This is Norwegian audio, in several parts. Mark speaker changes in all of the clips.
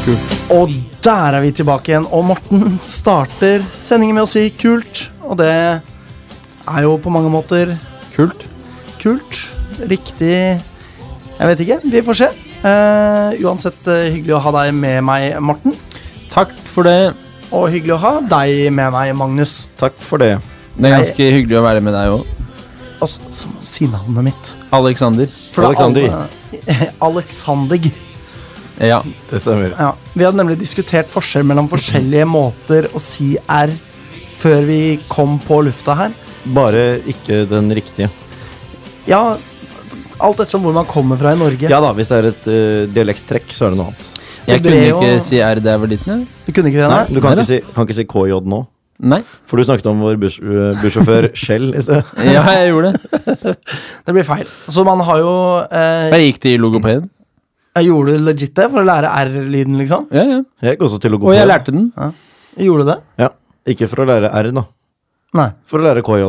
Speaker 1: Kult.
Speaker 2: Og der er vi tilbake igjen. Og Morten starter sendingen med å si kult. Og det er jo på mange måter
Speaker 1: Kult.
Speaker 2: kult. Riktig Jeg vet ikke. Vi får se. Eh, uansett eh, hyggelig å ha deg med meg, Morten.
Speaker 1: Takk for det.
Speaker 2: Og hyggelig å ha deg med meg, Magnus.
Speaker 1: Takk for det. Det er ganske hyggelig å være med deg òg.
Speaker 2: Og s- s- si navnet mitt.
Speaker 1: Alexander.
Speaker 2: For det er
Speaker 3: Alexander.
Speaker 2: alle- Alexander.
Speaker 1: Ja.
Speaker 3: Det stemmer.
Speaker 2: Ja, Vi hadde nemlig diskutert forskjell mellom forskjellige måter å si R før vi kom på lufta her.
Speaker 3: Bare ikke den riktige.
Speaker 2: Ja, alt ettersom hvor man kommer fra i Norge.
Speaker 3: Ja da, hvis det er et eh, dialekttrekk, så er det noe annet.
Speaker 2: Det
Speaker 1: Jeg
Speaker 2: ble
Speaker 1: kunne
Speaker 2: jo-
Speaker 1: ikke si R da jeg var liten. jeg.
Speaker 2: Du kunne ikke det,
Speaker 3: Nei,
Speaker 2: nei?
Speaker 3: du kan
Speaker 1: Nei da.
Speaker 3: ikke, si, kan ikke si KJ nå.
Speaker 1: Nei.
Speaker 3: For du snakket om vår buss, eh, bussjåfør Shell i sted.
Speaker 1: Ja, jeg gjorde det.
Speaker 2: Det blir feil. Så man har jo eh,
Speaker 1: Jeg gikk til logoped.
Speaker 2: Gjorde du legit det for å lære R-lyden, liksom?
Speaker 1: Ja, ja.
Speaker 3: Jeg gikk også til
Speaker 1: Og jeg
Speaker 3: logoped.
Speaker 1: lærte den.
Speaker 2: Gjorde du det?
Speaker 3: Ja. Ikke for å lære R, da.
Speaker 2: Nei.
Speaker 3: For å lære KJ.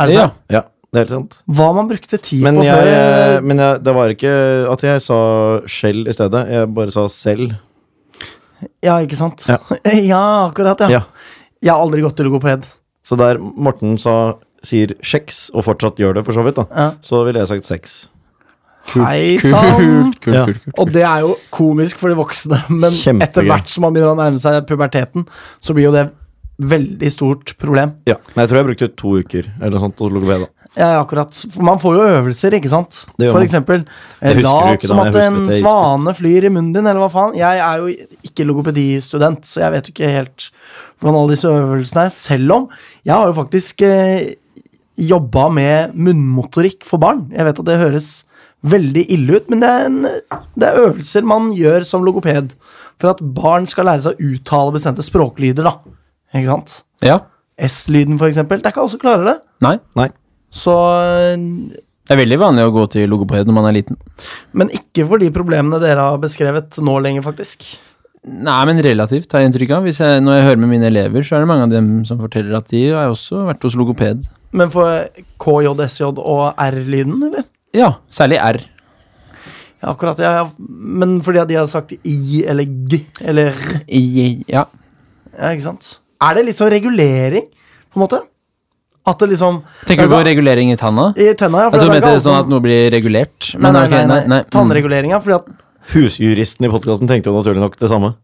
Speaker 2: Er det
Speaker 1: Ja.
Speaker 2: sant?
Speaker 3: Ja, det er helt sant.
Speaker 2: Hva man brukte tid
Speaker 3: Men,
Speaker 2: på
Speaker 3: jeg, eh,
Speaker 2: før
Speaker 3: men jeg, det var ikke at jeg sa Shell i stedet. Jeg bare sa selv.
Speaker 2: Ja, ikke sant?
Speaker 3: Ja.
Speaker 2: ja, akkurat, ja.
Speaker 3: Ja.
Speaker 2: Jeg har aldri gått til logoped.
Speaker 3: Så der Morten sa, sier kjeks, og fortsatt gjør det, for så vidt, da,
Speaker 2: Ja.
Speaker 3: så ville jeg sagt sex.
Speaker 2: Hei
Speaker 1: Kult,
Speaker 2: sann!
Speaker 1: kult,
Speaker 3: Ja.
Speaker 1: kult, kult.
Speaker 2: Og det er jo komisk for de voksne, men
Speaker 3: Kjempegøy.
Speaker 2: etter hvert som man begynner å nærme seg puberteten, så blir jo det veldig stort problem.
Speaker 3: Ja. Men jeg tror jeg brukte to uker eller noe sånt hos logoped. da.
Speaker 2: Ja, akkurat. For man får jo øvelser, ikke sant?
Speaker 3: Det gjør
Speaker 2: For
Speaker 3: man.
Speaker 2: eksempel
Speaker 3: Jeg
Speaker 2: eh,
Speaker 3: husker jo
Speaker 2: Lat
Speaker 3: ikke
Speaker 2: som
Speaker 3: da,
Speaker 2: at
Speaker 3: jeg husker
Speaker 2: en
Speaker 3: at jeg gikk
Speaker 2: svane flyr i munnen din, eller hva faen. Jeg er jo ikke logopedistudent, så jeg vet jo ikke helt hvordan alle disse øvelsene er. Selv om jeg har jo faktisk eh, jobba med munnmotorikk for barn. Jeg vet at det høres veldig ille ut, men det er, en, det er øvelser man gjør som logoped for at barn skal lære seg å uttale bestemte språklyder, da. Ikke sant?
Speaker 1: Ja.
Speaker 2: S-lyden, for eksempel. Det er ikke alle som klarer det.
Speaker 1: Nei.
Speaker 3: Nei.
Speaker 2: Så eh,
Speaker 1: Det er veldig vanlig å gå til logoped når man er liten.
Speaker 2: Men ikke for de problemene dere har beskrevet nå lenger, faktisk.
Speaker 1: Nei, men relativt, har jeg inntrykk av. Hvis jeg, når jeg hører med mine elever, så er det mange av dem som forteller at de har også vært hos logoped.
Speaker 2: Men for KJ, SJ og R-lyden, eller?
Speaker 1: Ja, særlig R.
Speaker 2: Ja, akkurat. Ja, ja. Men fordi at de har sagt I eller G eller R.
Speaker 1: I- Ja.
Speaker 2: Ja, ikke sant? Er det litt sånn regulering, på en måte? At det liksom
Speaker 1: Tenker du
Speaker 2: Ja,
Speaker 1: på
Speaker 2: da-
Speaker 1: regulering i tanna?
Speaker 2: I tenna, ja.
Speaker 1: Jeg
Speaker 2: det
Speaker 1: tror du
Speaker 2: er
Speaker 1: mente
Speaker 2: ikke alle
Speaker 1: sånn at
Speaker 2: som-
Speaker 1: noe blir regulert.
Speaker 2: Nei,
Speaker 1: men
Speaker 2: nei,
Speaker 1: ok,
Speaker 2: nei. nei,
Speaker 1: nei, mm.
Speaker 2: Tannreguleringa. Fordi at
Speaker 3: Husjuristen i podkasten tenkte jo naturlig nok det samme.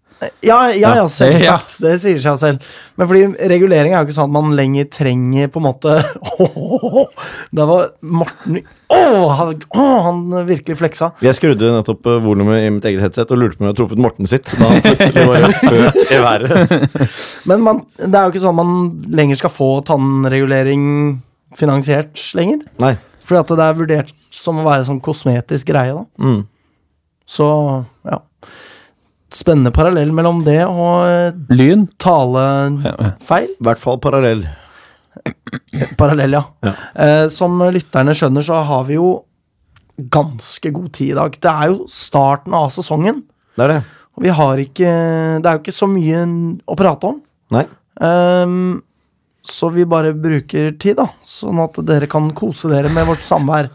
Speaker 2: Ja, ja, ja
Speaker 1: Ja.
Speaker 2: selvsagt. Det sier seg selv. Men fordi regulering er jo ikke sånn at man lenger trenger på en måte Der var Morten Åh, han, åh, han virkelig fleksa.
Speaker 3: Jeg skrudde nettopp eh, volumet i mitt eget headset og lurte på om jeg hadde truffet Morten sitt. Da han plutselig var født i været.
Speaker 2: Men man, det er jo ikke sånn at man lenger skal få tannregulering finansiert lenger.
Speaker 3: Nei.
Speaker 2: Fordi at det er vurdert som å være sånn kosmetisk greie, da.
Speaker 3: Mm.
Speaker 2: Så ja. Spennende parallell mellom det og eh,
Speaker 1: Lyn?
Speaker 2: talefeil.
Speaker 1: Ja, ja.
Speaker 3: I hvert fall parallell.
Speaker 2: Parallell, ja.
Speaker 3: Ja.
Speaker 2: Eh, som lytterne skjønner, så har vi jo ganske god tid i dag. Det er jo starten av sesongen.
Speaker 3: Det er det.
Speaker 2: Og vi har ikke Det er jo ikke så mye n- å prate om.
Speaker 3: Nei.
Speaker 2: Ehm, så vi bare bruker tid, da. Sånn at dere kan kose dere med vårt samvær.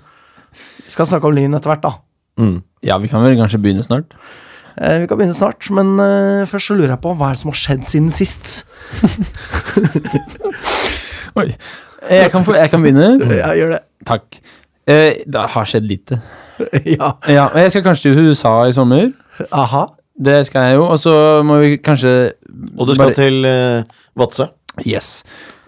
Speaker 2: Vi skal snakke om Lyn etter hvert, da.
Speaker 3: Mm.
Speaker 1: ja, vi kan vel kanskje begynne snart.
Speaker 2: Eh, vi kan begynne snart, men eh, først så lurer jeg på hva er det som har skjedd siden sist?
Speaker 1: Oi. Eh, Jeg kan, få, jeg kan begynne.
Speaker 2: Ja, gjør det.
Speaker 1: Takk. Eh, det har skjedd lite.
Speaker 2: Ja.
Speaker 1: Ja, og Jeg skal kanskje til USA i sommer.
Speaker 2: Aha.
Speaker 1: Det skal jeg jo. Og så må vi kanskje
Speaker 3: Og du skal
Speaker 1: bare-
Speaker 3: til uh, Vadsø?
Speaker 1: Yes.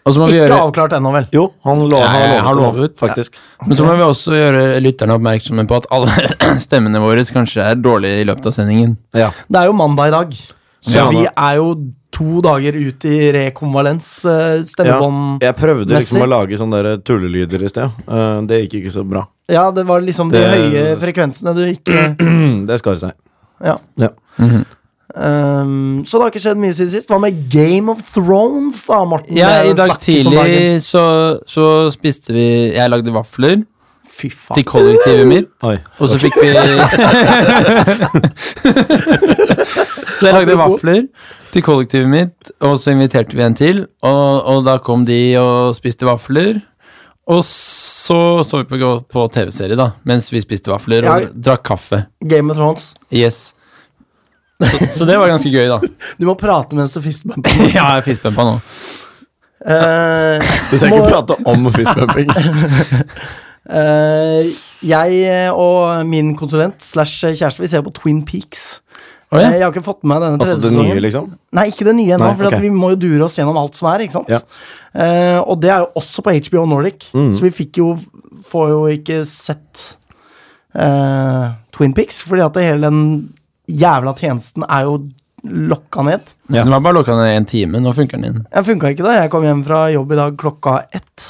Speaker 1: Og så må vi
Speaker 2: Ikke
Speaker 1: gjøre
Speaker 2: avklart ennå, vel?
Speaker 3: Jo, han lo
Speaker 1: Ja,
Speaker 3: han
Speaker 1: jeg har
Speaker 3: har lovet,
Speaker 1: lovet.
Speaker 3: det nå, faktisk.
Speaker 1: Men så må vi også gjøre lytterne oppmerksomme på at alle stemmene våre kanskje er dårlige i løpet av sendingen.
Speaker 3: Ja.
Speaker 2: Det er jo mandag i dag, så
Speaker 1: Ja,
Speaker 2: vi
Speaker 3: da.
Speaker 2: er jo to dager ut i rekonvalens eh,
Speaker 3: Ja.
Speaker 2: stemmebånd. Ja.
Speaker 3: Jeg prøvde liksom
Speaker 2: Messi?
Speaker 3: å lage sånne der tullelyder i sted. Eh, det gikk ikke så bra.
Speaker 2: det var liksom de
Speaker 3: Det-
Speaker 2: høye frekvensene du ikke
Speaker 3: Mm, det skar seg.
Speaker 2: Ja.
Speaker 3: Ja.
Speaker 2: Ehm, så det har ikke skjedd mye siden sist. Hva med Game of Thrones, da, Morten? Det
Speaker 1: Ja,
Speaker 2: er jo
Speaker 1: I
Speaker 2: en
Speaker 1: dag
Speaker 2: snakkis om dagen.
Speaker 1: tidlig så, så spiste vi Jeg lagde vafler
Speaker 2: Fy faen.
Speaker 1: til kollektivet mitt.
Speaker 3: Oi.
Speaker 1: Og så fikk vi Så jeg lagde vafler til kollektivet mitt, og så inviterte vi en til. Og, og da kom de og spiste vafler. Og så så vi på, på TV-serie, da, mens vi spiste vafler og
Speaker 2: Ja.
Speaker 1: drakk kaffe.
Speaker 2: Game of Thrones.
Speaker 1: Yes. Så, så det var ganske gøy, da.
Speaker 2: Du må prate mens du fistbumper.
Speaker 1: Ja, jeg er fistbumpa nå.
Speaker 2: Eh,
Speaker 3: Du
Speaker 2: Må-
Speaker 3: trenger ikke prate om fistbumping.
Speaker 2: eh, jeg og min konsulent slash kjæreste, vi ser på Twin Peaks.
Speaker 1: Å
Speaker 2: Eh,
Speaker 1: ja.
Speaker 2: Jeg har ikke fått med meg denne
Speaker 3: Altså
Speaker 2: tredje
Speaker 3: det nye,
Speaker 2: sesongen.
Speaker 3: liksom.
Speaker 2: Nei, ikke det nye ennå,
Speaker 3: Nei,
Speaker 2: for at
Speaker 3: ok.
Speaker 2: vi må jo dure oss gjennom alt som er. ikke sant?
Speaker 3: Ja. Mm.
Speaker 2: Eh, og det er jo også på HBO Nordic, så vi fikk jo Får jo ikke sett eh, Twin Pics, fordi at det hele den jævla tjenesten er jo lokka ned.
Speaker 1: Den var bare lukka ned en time. Nå funker den inn.
Speaker 2: Jeg funka ikke da. Jeg kom hjem fra jobb i dag klokka ett.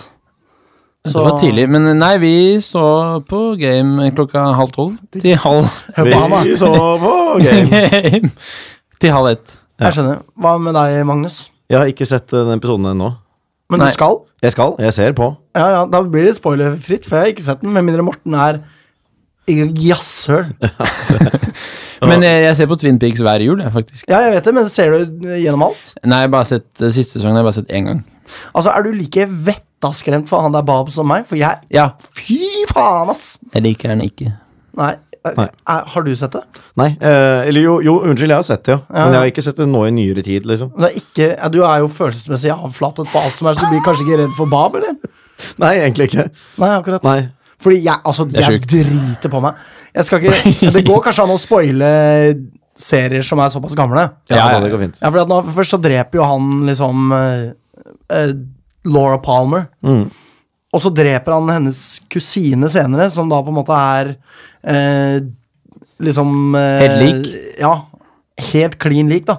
Speaker 1: Det var tidlig. Men eh, nei, vi så på game klokka halv tolv til halv
Speaker 2: Hør på han, da.
Speaker 3: Vi så på game.
Speaker 1: game. Til halv ett.
Speaker 2: Jeg skjønner. Hva med deg, Magnus?
Speaker 3: Jeg har ikke sett eh, den episoden ennå.
Speaker 2: Men
Speaker 1: Nei.
Speaker 2: du skal?
Speaker 3: Jeg skal. Jeg ser på.
Speaker 2: Ja, ja, Da blir det spoilerfritt, for jeg har ikke sett den. Med mindre Morten er jazzhøl.
Speaker 1: Men eh, jeg, jeg ser på Twin Peaks hver jul, jeg, faktisk.
Speaker 2: Ja, jeg vet det, men ser du gjennom alt?
Speaker 1: Nei, jeg har bare sett eh, siste sesongen har jeg bare sett én gang.
Speaker 2: Altså, Er du like vettaskremt for han der Bob som meg? For jeg
Speaker 1: Ja,
Speaker 2: Fy faen, ass!
Speaker 1: jeg liker den ikke.
Speaker 2: Nei. eh,
Speaker 3: Nei.
Speaker 2: Er, har du sett det?
Speaker 3: Nei, eh, eller jo, jo, unnskyld, jeg har sett det, ja.
Speaker 2: Ja,
Speaker 3: Men
Speaker 2: ja.
Speaker 3: jeg har ikke sett det nå i nyere tid, liksom.
Speaker 2: Men det er ikke, ja, du er jo følelsesmessig avflatet på alt som er, så du blir kanskje ikke redd for Bob, eller?
Speaker 3: Nei, egentlig ikke.
Speaker 2: Nei, akkurat.
Speaker 3: Nei.
Speaker 2: Fordi jeg, altså,
Speaker 1: er
Speaker 2: jeg
Speaker 1: sjukt.
Speaker 2: driter på meg. Jeg skal ikke, det går kanskje an å spoile serier som er såpass gamle.
Speaker 3: Ja,
Speaker 1: Ja, ja,
Speaker 3: da, det går fint.
Speaker 2: Ja, for at nå, Først så dreper jo han liksom eh, eh, Laura Palmer.
Speaker 3: Mm.
Speaker 2: Og så dreper han hennes kusine senere, som da på en måte er eh, liksom eh,
Speaker 1: Helt lik? Mm.
Speaker 2: Ja. Helt klin lik, da.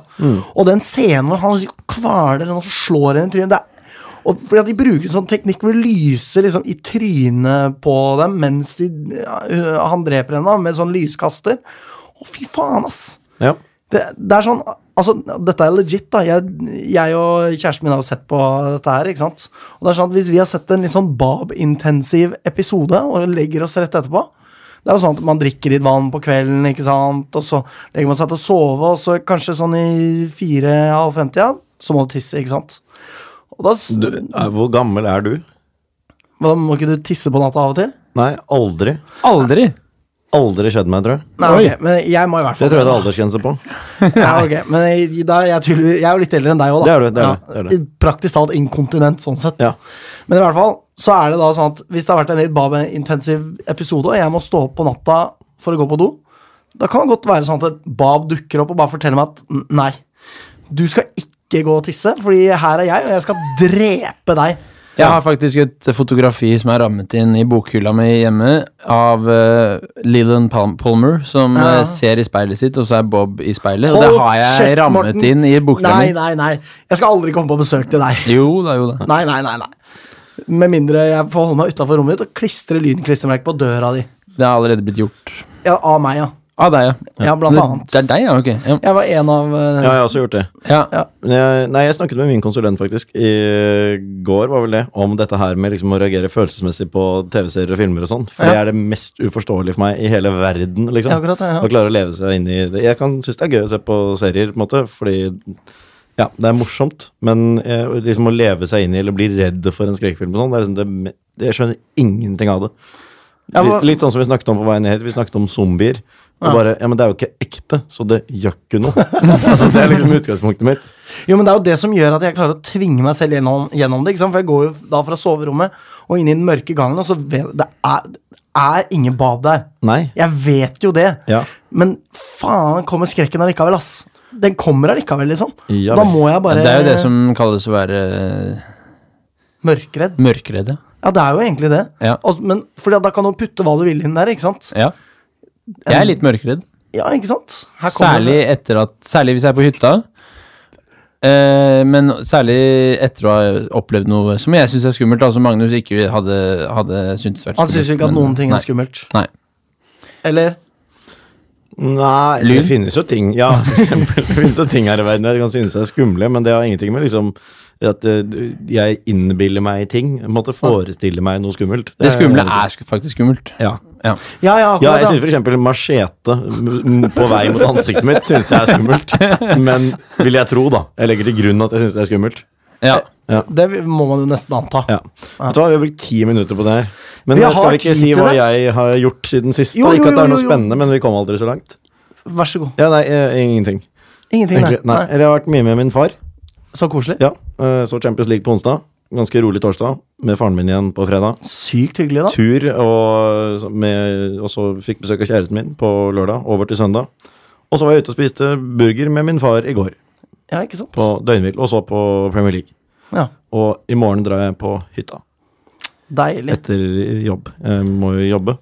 Speaker 2: Og den scenen hvor han kveler henne og så slår henne i trynet det er- og fordi at De bruker en sånn teknikk hvor det lyser liksom i trynet på dem mens de, ja, øh, han dreper henne da, med sånn lyskaster. Å, fy faen, ass!
Speaker 3: Ja.
Speaker 2: Det, det er sånn Altså, dette er legit, da. Jeg, jeg og kjæresten min har jo sett på dette her, ikke sant. Og det er sånn at Hvis vi har sett en litt sånn Bab-intensiv episode og legger oss rett etterpå Det er jo sånn at man drikker litt vann på kvelden, ikke sant, og så legger man seg til å sove, og så kanskje sånn i fire-halv femti, ja, så må du tisse, ikke sant. Og da, s-
Speaker 3: Du, eh, hvor gammel er du?
Speaker 2: Hva, må ikke du tisse på natta av og til?
Speaker 3: Nei, aldri.
Speaker 1: Aldri!
Speaker 3: Aldri skjedd meg, tror jeg.
Speaker 2: Nei,
Speaker 1: Oi.
Speaker 2: ok, men jeg må i hvert
Speaker 3: Det
Speaker 2: fall
Speaker 3: tror jeg det er aldersgrense på.
Speaker 2: Ja, ok, men jeg, da, er jeg, tydelig, jeg er jo litt eldre enn deg òg, da.
Speaker 3: Det er du, det er du, det er du.
Speaker 2: Ja, Praktisk talt inkontinent, sånn sett.
Speaker 3: Ja.
Speaker 2: Men i hvert fall så er det da sånn at hvis det har vært en litt Bab-intensiv episode, og jeg må stå opp på natta for å gå på do, da kan det godt være sånn at Bab dukker opp og bare forteller meg at "N- nei, du skal ikke gå og tisse, fordi her er jeg, og jeg skal drepe deg.
Speaker 1: Jeg har faktisk et eh, fotografi som er rammet inn i bokhylla mi hjemme, av uh, Leland Pal- Palmer, som
Speaker 2: Ja.
Speaker 1: eh, ser i speilet sitt, og så er Bob i speilet. og
Speaker 2: Hold
Speaker 1: det har jeg
Speaker 2: kjeft,
Speaker 1: rammet
Speaker 2: Morten.
Speaker 1: inn i bokhylla
Speaker 2: Nei,
Speaker 1: mi.
Speaker 2: nei, nei. Jeg skal aldri komme på besøk til deg.
Speaker 1: Jo da, jo da.
Speaker 2: Nei, nei, nei. nei. Med mindre jeg får holde meg utafor rommet ditt og klistre lynklistremerke på døra di.
Speaker 1: Det har allerede blitt gjort.
Speaker 2: Ja, av meg, ja.
Speaker 1: Av deg, ja.
Speaker 2: Ja, blant
Speaker 1: det,
Speaker 2: annet.
Speaker 1: det er deg, ja? Ok. Ja.
Speaker 2: Jeg var en av eh,
Speaker 3: Ja, jeg har også gjort det.
Speaker 1: Ja.
Speaker 2: Ja.
Speaker 3: Men Jeg, nei, jeg snakket med min konsulent faktisk i går var vel det, om dette her med liksom å reagere følelsesmessig på TV-serier og filmer og sånn. For det
Speaker 2: Ja.
Speaker 3: er det mest uforståelige for meg i hele verden. liksom.
Speaker 2: Ja, akkurat det, ja.
Speaker 3: Å klare å leve seg inn i det. Jeg kan synes det er gøy å se på serier, på en måte, fordi ja, det er morsomt. Men eh, liksom å leve seg inn i eller bli redd for en skrekkfilm og sånn, det er liksom det, me- det, jeg skjønner ingenting av det.
Speaker 2: Ja,
Speaker 3: Litt,
Speaker 2: hva-
Speaker 3: litt sånn som vi snakket om på veien ned hit. Vi snakket om zombier. Og
Speaker 2: Ja.
Speaker 3: bare, ja, men det er jo ikke ekte, så det gjør ikke noe. altså, det er liksom utgangspunktet mitt.
Speaker 2: Jo, men det er jo det som gjør at jeg klarer å tvinge meg selv gjennom, gjennom det. ikke sant? For jeg går jo da fra soverommet og inn i den mørke gangen, og så vet det er, det er ingen bad der.
Speaker 3: Nei.
Speaker 2: Jeg vet jo det.
Speaker 3: Ja.
Speaker 2: Men faen kommer skrekken allikevel, ass. Den kommer allikevel, liksom.
Speaker 3: Ja
Speaker 2: da
Speaker 3: vel.
Speaker 2: må jeg bare
Speaker 1: Det er jo det som kalles å være eh,
Speaker 2: Mørkredd.
Speaker 1: mørkredd, ja.
Speaker 2: Ja, det er jo egentlig det.
Speaker 1: Ja.
Speaker 2: Og, men fordi at da kan du putte hva du vil inn der, ikke sant?
Speaker 1: ja. Jeg er litt mørkredd.
Speaker 2: Ja, ikke sant? Um, Her kommer
Speaker 1: Særlig etter at Særlig hvis jeg er på hytta. Eh, men særlig etter å ha opplevd noe som jeg syns er skummelt, da, som Magnus ikke hadde, hadde syntes vært
Speaker 2: det. Han syns jo ikke at
Speaker 1: men-
Speaker 2: noen ting
Speaker 1: nei.
Speaker 2: er skummelt.
Speaker 1: Nei.
Speaker 2: Eller?
Speaker 3: Nei,
Speaker 1: Lyn?
Speaker 3: det finnes jo ting Ja, for eksempel, det finnes jo ting her i verden jeg kan synes er skumle, men det har ingenting med liksom at eh, jeg innbiller meg ting. Jeg måtte forestille meg noe skummelt.
Speaker 2: Eh,
Speaker 1: Det skumle er sk- faktisk skummelt.
Speaker 3: ja.
Speaker 1: Ja.
Speaker 2: Ja, ja, akkurat.
Speaker 3: ja, jeg
Speaker 2: ja.
Speaker 3: syns f.eks. machete m- på vei mot ansiktet mitt synes jeg er skummelt. Men vil jeg tro, da. Jeg legger til grunn at jeg syns det er skummelt.
Speaker 1: ja.
Speaker 2: Eh, Det må man jo nesten anta.
Speaker 3: Ja. Vet du hva, Vi har brukt ti minutter på det her. Men
Speaker 2: Vi
Speaker 3: skal
Speaker 2: har
Speaker 3: vi ikke
Speaker 2: tid
Speaker 3: si
Speaker 2: til
Speaker 3: hva
Speaker 2: det.
Speaker 3: jeg har gjort siden sist?
Speaker 2: Jo,
Speaker 3: da?
Speaker 2: jo,
Speaker 3: Ikke at det
Speaker 2: jo,
Speaker 3: er
Speaker 2: jo,
Speaker 3: noe
Speaker 2: jo.
Speaker 3: spennende, men vi kom aldri så langt.
Speaker 2: Vær så god.
Speaker 3: Ja, nei, eh, ingenting.
Speaker 2: Ingenting,
Speaker 3: Egentlig,
Speaker 2: nei.
Speaker 3: nei.
Speaker 2: nei.
Speaker 3: Eller jeg har vært mye med min far.
Speaker 2: Så koselig.
Speaker 3: Ja, eh, Så Champions League på onsdag. Ganske rolig torsdag. Med faren min igjen på fredag.
Speaker 2: Sykt hyggelig, da.
Speaker 3: Tur, og, så- med, og så fikk besøk av kjæresten min på lørdag. Over til søndag. Og så var jeg ute og spiste burger med min far i går.
Speaker 2: Ja, ikke sant?
Speaker 3: På døgnhvil. Og så på Premier League.
Speaker 2: Ja.
Speaker 3: Og i morgen drar jeg på hytta.
Speaker 2: Deilig.
Speaker 3: etter jobb. Jeg må jo jobbe.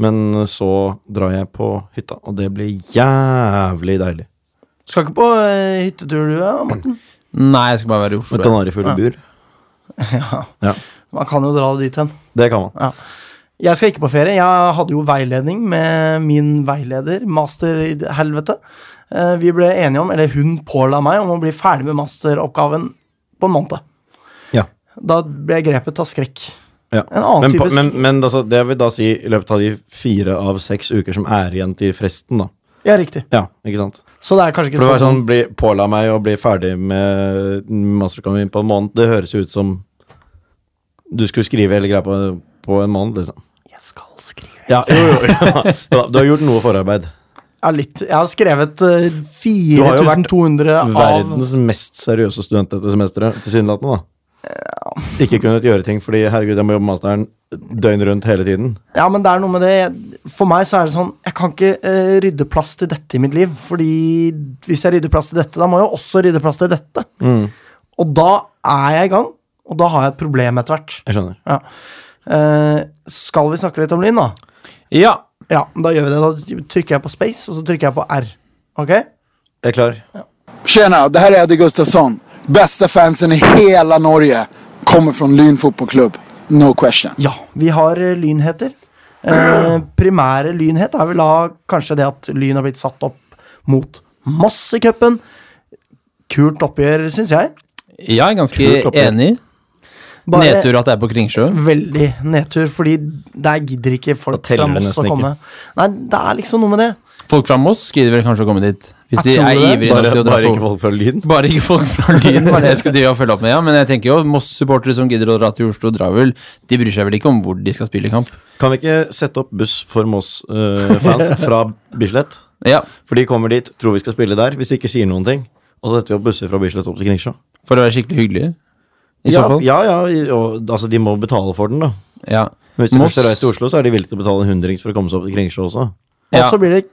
Speaker 3: Men så drar jeg på hytta, og det blir jævlig deilig.
Speaker 2: Skal ikke på eh, hyttetur, du, ja, Morten?
Speaker 1: Nei, jeg skal bare være i Oslo.
Speaker 3: Med
Speaker 1: jeg.
Speaker 3: kanarifugl
Speaker 2: Ja.
Speaker 3: i bur.
Speaker 2: Ja.
Speaker 3: Ja.
Speaker 2: Man kan jo dra det dit hen.
Speaker 3: Det kan man.
Speaker 2: Jeg skal ikke på ferie. Jeg hadde jo veiledning med min veileder, master i d- helvete. Eh, Vi ble enige om, eller hun påla meg, om å bli ferdig med masteroppgaven på en måned.
Speaker 3: Ja.
Speaker 2: Da ble jeg grepet av skrekk.
Speaker 3: Ja.
Speaker 2: En annen
Speaker 3: Men, på,
Speaker 2: type skrekk.
Speaker 3: men, men altså, det vil da si i løpet av de fire av seks uker som er igjen til fristen, da.
Speaker 2: Ja, riktig.
Speaker 3: Ja, ikke sant?
Speaker 2: Så det er kanskje ikke
Speaker 3: For det
Speaker 2: så
Speaker 3: var sånn, bli, Påla meg å bli ferdig med mastercommen min på en måned. Det høres jo ut som du skulle skrive hele greia på, på en måned, liksom.
Speaker 2: Jeg skal skrive.
Speaker 3: Ja, jo, jo, ja. Du har gjort noe forarbeid.
Speaker 2: Ja, litt. Jeg har skrevet eh,
Speaker 3: har jo vært
Speaker 2: 4200 av
Speaker 3: Verdens mest seriøse student dette semesteret, tilsynelatende, da. Ikke kunnet gjøre ting fordi herregud, jeg må jobbe med masteren døgnet rundt hele tiden.
Speaker 2: Ja, men det er noe med det. Jeg- For meg så er det sånn Jeg kan ikke eh, rydde plass til dette i mitt liv. Fordi hvis jeg rydder plass til dette, da må jeg også rydde plass til dette.
Speaker 3: Mm.
Speaker 2: Og da er jeg i gang, og da har jeg et problem etter hvert.
Speaker 3: Jeg skjønner.
Speaker 2: Ja. Eh, skal vi snakke litt om Lyn, da?
Speaker 1: Ja.
Speaker 2: Ja, da gjør vi det. Da trykker jeg på space, og så trykker jeg på R. Ok?
Speaker 3: Jeg er klar.
Speaker 4: Tjena, det här är Eddie Gustafsson. Bästa fansen i hela Norge. Kommer från Lyn fotbollsklubb. No question.
Speaker 2: Ja, vi har eh, lynheter. Eh, primære lynhet er vel da kanskje det at Lyn har blitt satt opp mot Moss i cupen. Kult oppgjør, syns jeg.
Speaker 1: Jeg er ganske
Speaker 3: Kult opplegg.
Speaker 1: enig.
Speaker 2: Bare
Speaker 1: Nedtur at det er på Kringsjø.
Speaker 2: veldig nedtur, fordi der gidder ikke folk
Speaker 3: Da teller
Speaker 2: fra
Speaker 3: det
Speaker 2: Moss å
Speaker 3: nesten
Speaker 2: komme. Nei, det er liksom noe med det.
Speaker 1: Folk fra Moss gidder vel kanskje å komme dit. Hvis
Speaker 2: Jeg
Speaker 1: de
Speaker 2: tror
Speaker 1: er
Speaker 2: det.
Speaker 1: ivrige
Speaker 3: Bare,
Speaker 1: nok til å dra
Speaker 3: bare ikke
Speaker 1: på.
Speaker 3: folk fra Lyn.
Speaker 1: Bare ikke folk fra Lyn, var det jeg skulle drive og følge opp med. ja, Men jeg tenker jo Moss-supportere som gidder å dra til Oslo, drar vel De bryr seg vel ikke om hvor de skal spille kamp.
Speaker 3: Kan vi ikke sette opp buss for Moss-fans fra Bislett?
Speaker 1: Ja,
Speaker 3: For de kommer dit, tror vi skal spille der, hvis de ikke sier noen ting. Og så setter vi opp busser fra Bislett opp til Kringsjå.
Speaker 1: For å være skikkelig hyggelig. I
Speaker 3: Ja,
Speaker 1: så fall.
Speaker 3: ja, ja, og, altså de må betale for den, da.
Speaker 1: Ja.
Speaker 3: Men hvis de
Speaker 1: Moss-
Speaker 3: først reiser til Oslo, så er de villige til å betale en hundrings for å komme seg opp til Kringsjå også.
Speaker 2: Og
Speaker 1: Ja.
Speaker 2: så blir det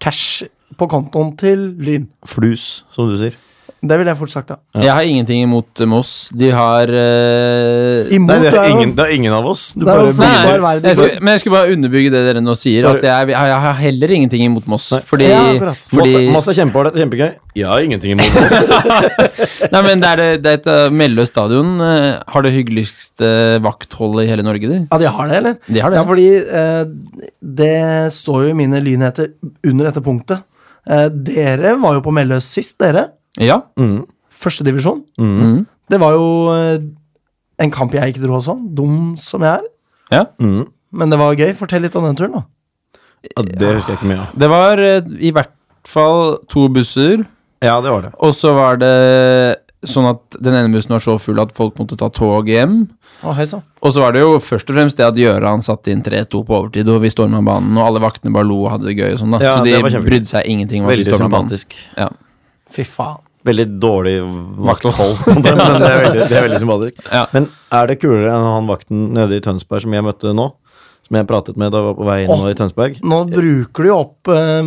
Speaker 2: cash på kontoen til Lyn.
Speaker 3: Flus, som du sier.
Speaker 2: Det ville jeg fort sagt, ja.
Speaker 1: Jeg har ingenting imot eh, Moss. De har eh,
Speaker 2: Imot
Speaker 3: Nei, det
Speaker 2: er
Speaker 3: er
Speaker 2: jo-
Speaker 3: ingen, det er ingen av oss. Du
Speaker 2: Det er jo
Speaker 3: bare
Speaker 2: faen-
Speaker 3: blir
Speaker 2: Nei.
Speaker 1: jeg
Speaker 2: bare være de
Speaker 1: skulle, men jeg skulle bare underbygge det dere nå sier. At jeg, jeg har heller ingenting imot Moss.
Speaker 3: Nei.
Speaker 1: Fordi,
Speaker 2: Ja, akkurat.
Speaker 1: fordi
Speaker 3: Masse, masse kjempeålreit og kjempegøy. Jeg har ingenting imot oss.
Speaker 1: Nei, men det er, det, det er et eh, Melløs stadion eh, har det hyggeligste vaktholdet i hele Norge, de.
Speaker 2: Ja, de har det, eller?
Speaker 1: De har det.
Speaker 2: Ja, fordi eh, det står jo i mine lynheter under dette punktet. Eh, dere var jo på Melløs sist, dere.
Speaker 1: Ja.
Speaker 2: Førstedivisjon.
Speaker 1: Mm.
Speaker 2: Det var jo eh, en kamp jeg ikke dro også, dum som jeg er.
Speaker 1: ja.
Speaker 3: mm.
Speaker 2: Men det var gøy. Fortell litt om den turen, da.
Speaker 3: Ja, det husker jeg ikke mye av.
Speaker 1: Det var eh, i hvert fall to busser,
Speaker 3: Ja, det var det.
Speaker 1: og så var det sånn at den ene bussen var så full at folk måtte ta tog hjem.
Speaker 2: Å, hei sann.
Speaker 1: Og så var det jo først og fremst det at Gjøran satte inn 3-2 på overtid, og vi storma banen, og alle vaktene bare lo og hadde det gøy og sånn, da.
Speaker 3: Ja,
Speaker 1: så
Speaker 3: det
Speaker 1: de
Speaker 3: var kjempegøy.
Speaker 1: brydde seg ingenting om at vi
Speaker 3: Veldig
Speaker 1: storma banen.
Speaker 3: sympatisk.
Speaker 1: Ja.
Speaker 2: Fy faen.
Speaker 3: Veldig dårlig
Speaker 1: Vakthold.
Speaker 3: vakthold, men det er veldig, det er veldig sympatisk.
Speaker 1: Ja.
Speaker 3: Men er det kulere enn han vakten nede i Tønsberg som jeg møtte nå? Som jeg pratet med da jeg var på vei inn nå i Tønsberg?
Speaker 2: Nå bruker du jo opp eh,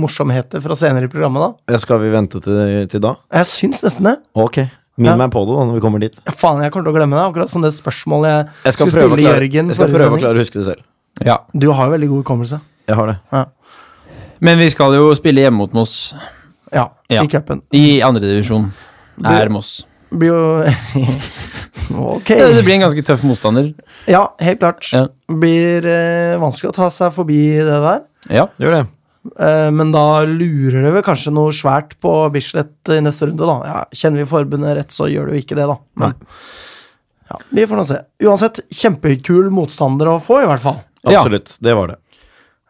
Speaker 2: morsomheter fra senere i programmet, da.
Speaker 3: Ja, Skal vi vente til, til da?
Speaker 2: Jeg syns nesten det.
Speaker 3: Ok. Minn
Speaker 2: Ja.
Speaker 3: meg på det da, når vi kommer dit.
Speaker 2: Ja, faen, jeg kommer til å glemme det. Akkurat som det spørsmålet jeg,
Speaker 3: Jeg skal,
Speaker 2: skulle
Speaker 3: prøve å,
Speaker 2: stille
Speaker 3: klare,
Speaker 2: Jørgen
Speaker 3: jeg skal
Speaker 2: forrige
Speaker 3: prøve å
Speaker 2: sending.
Speaker 3: klare å huske det selv.
Speaker 1: Ja.
Speaker 2: Du har jo veldig god hukommelse.
Speaker 3: Jeg har det.
Speaker 2: Ja.
Speaker 1: Men vi skal jo spille hjemme mot Moss
Speaker 2: ja,
Speaker 1: Ja.
Speaker 2: I cupen.
Speaker 1: i andredivisjon. Er Moss.
Speaker 2: Blir jo Ok.
Speaker 1: Det, det blir en ganske tøff motstander.
Speaker 2: Ja, helt klart.
Speaker 1: Ja.
Speaker 2: Blir eh, vanskelig å ta seg forbi det der.
Speaker 1: Ja.
Speaker 3: Gjør det.
Speaker 2: Eh, men da lurer det vel kanskje noe svært på Bislett i neste runde, da. Ja, kjenner vi forbundet rett, så gjør det jo ikke det, da. Men, ja, vi får nå se. Uansett, kjempekul motstander å få, i hvert fall.
Speaker 1: Ja.
Speaker 3: Absolutt. Det var det.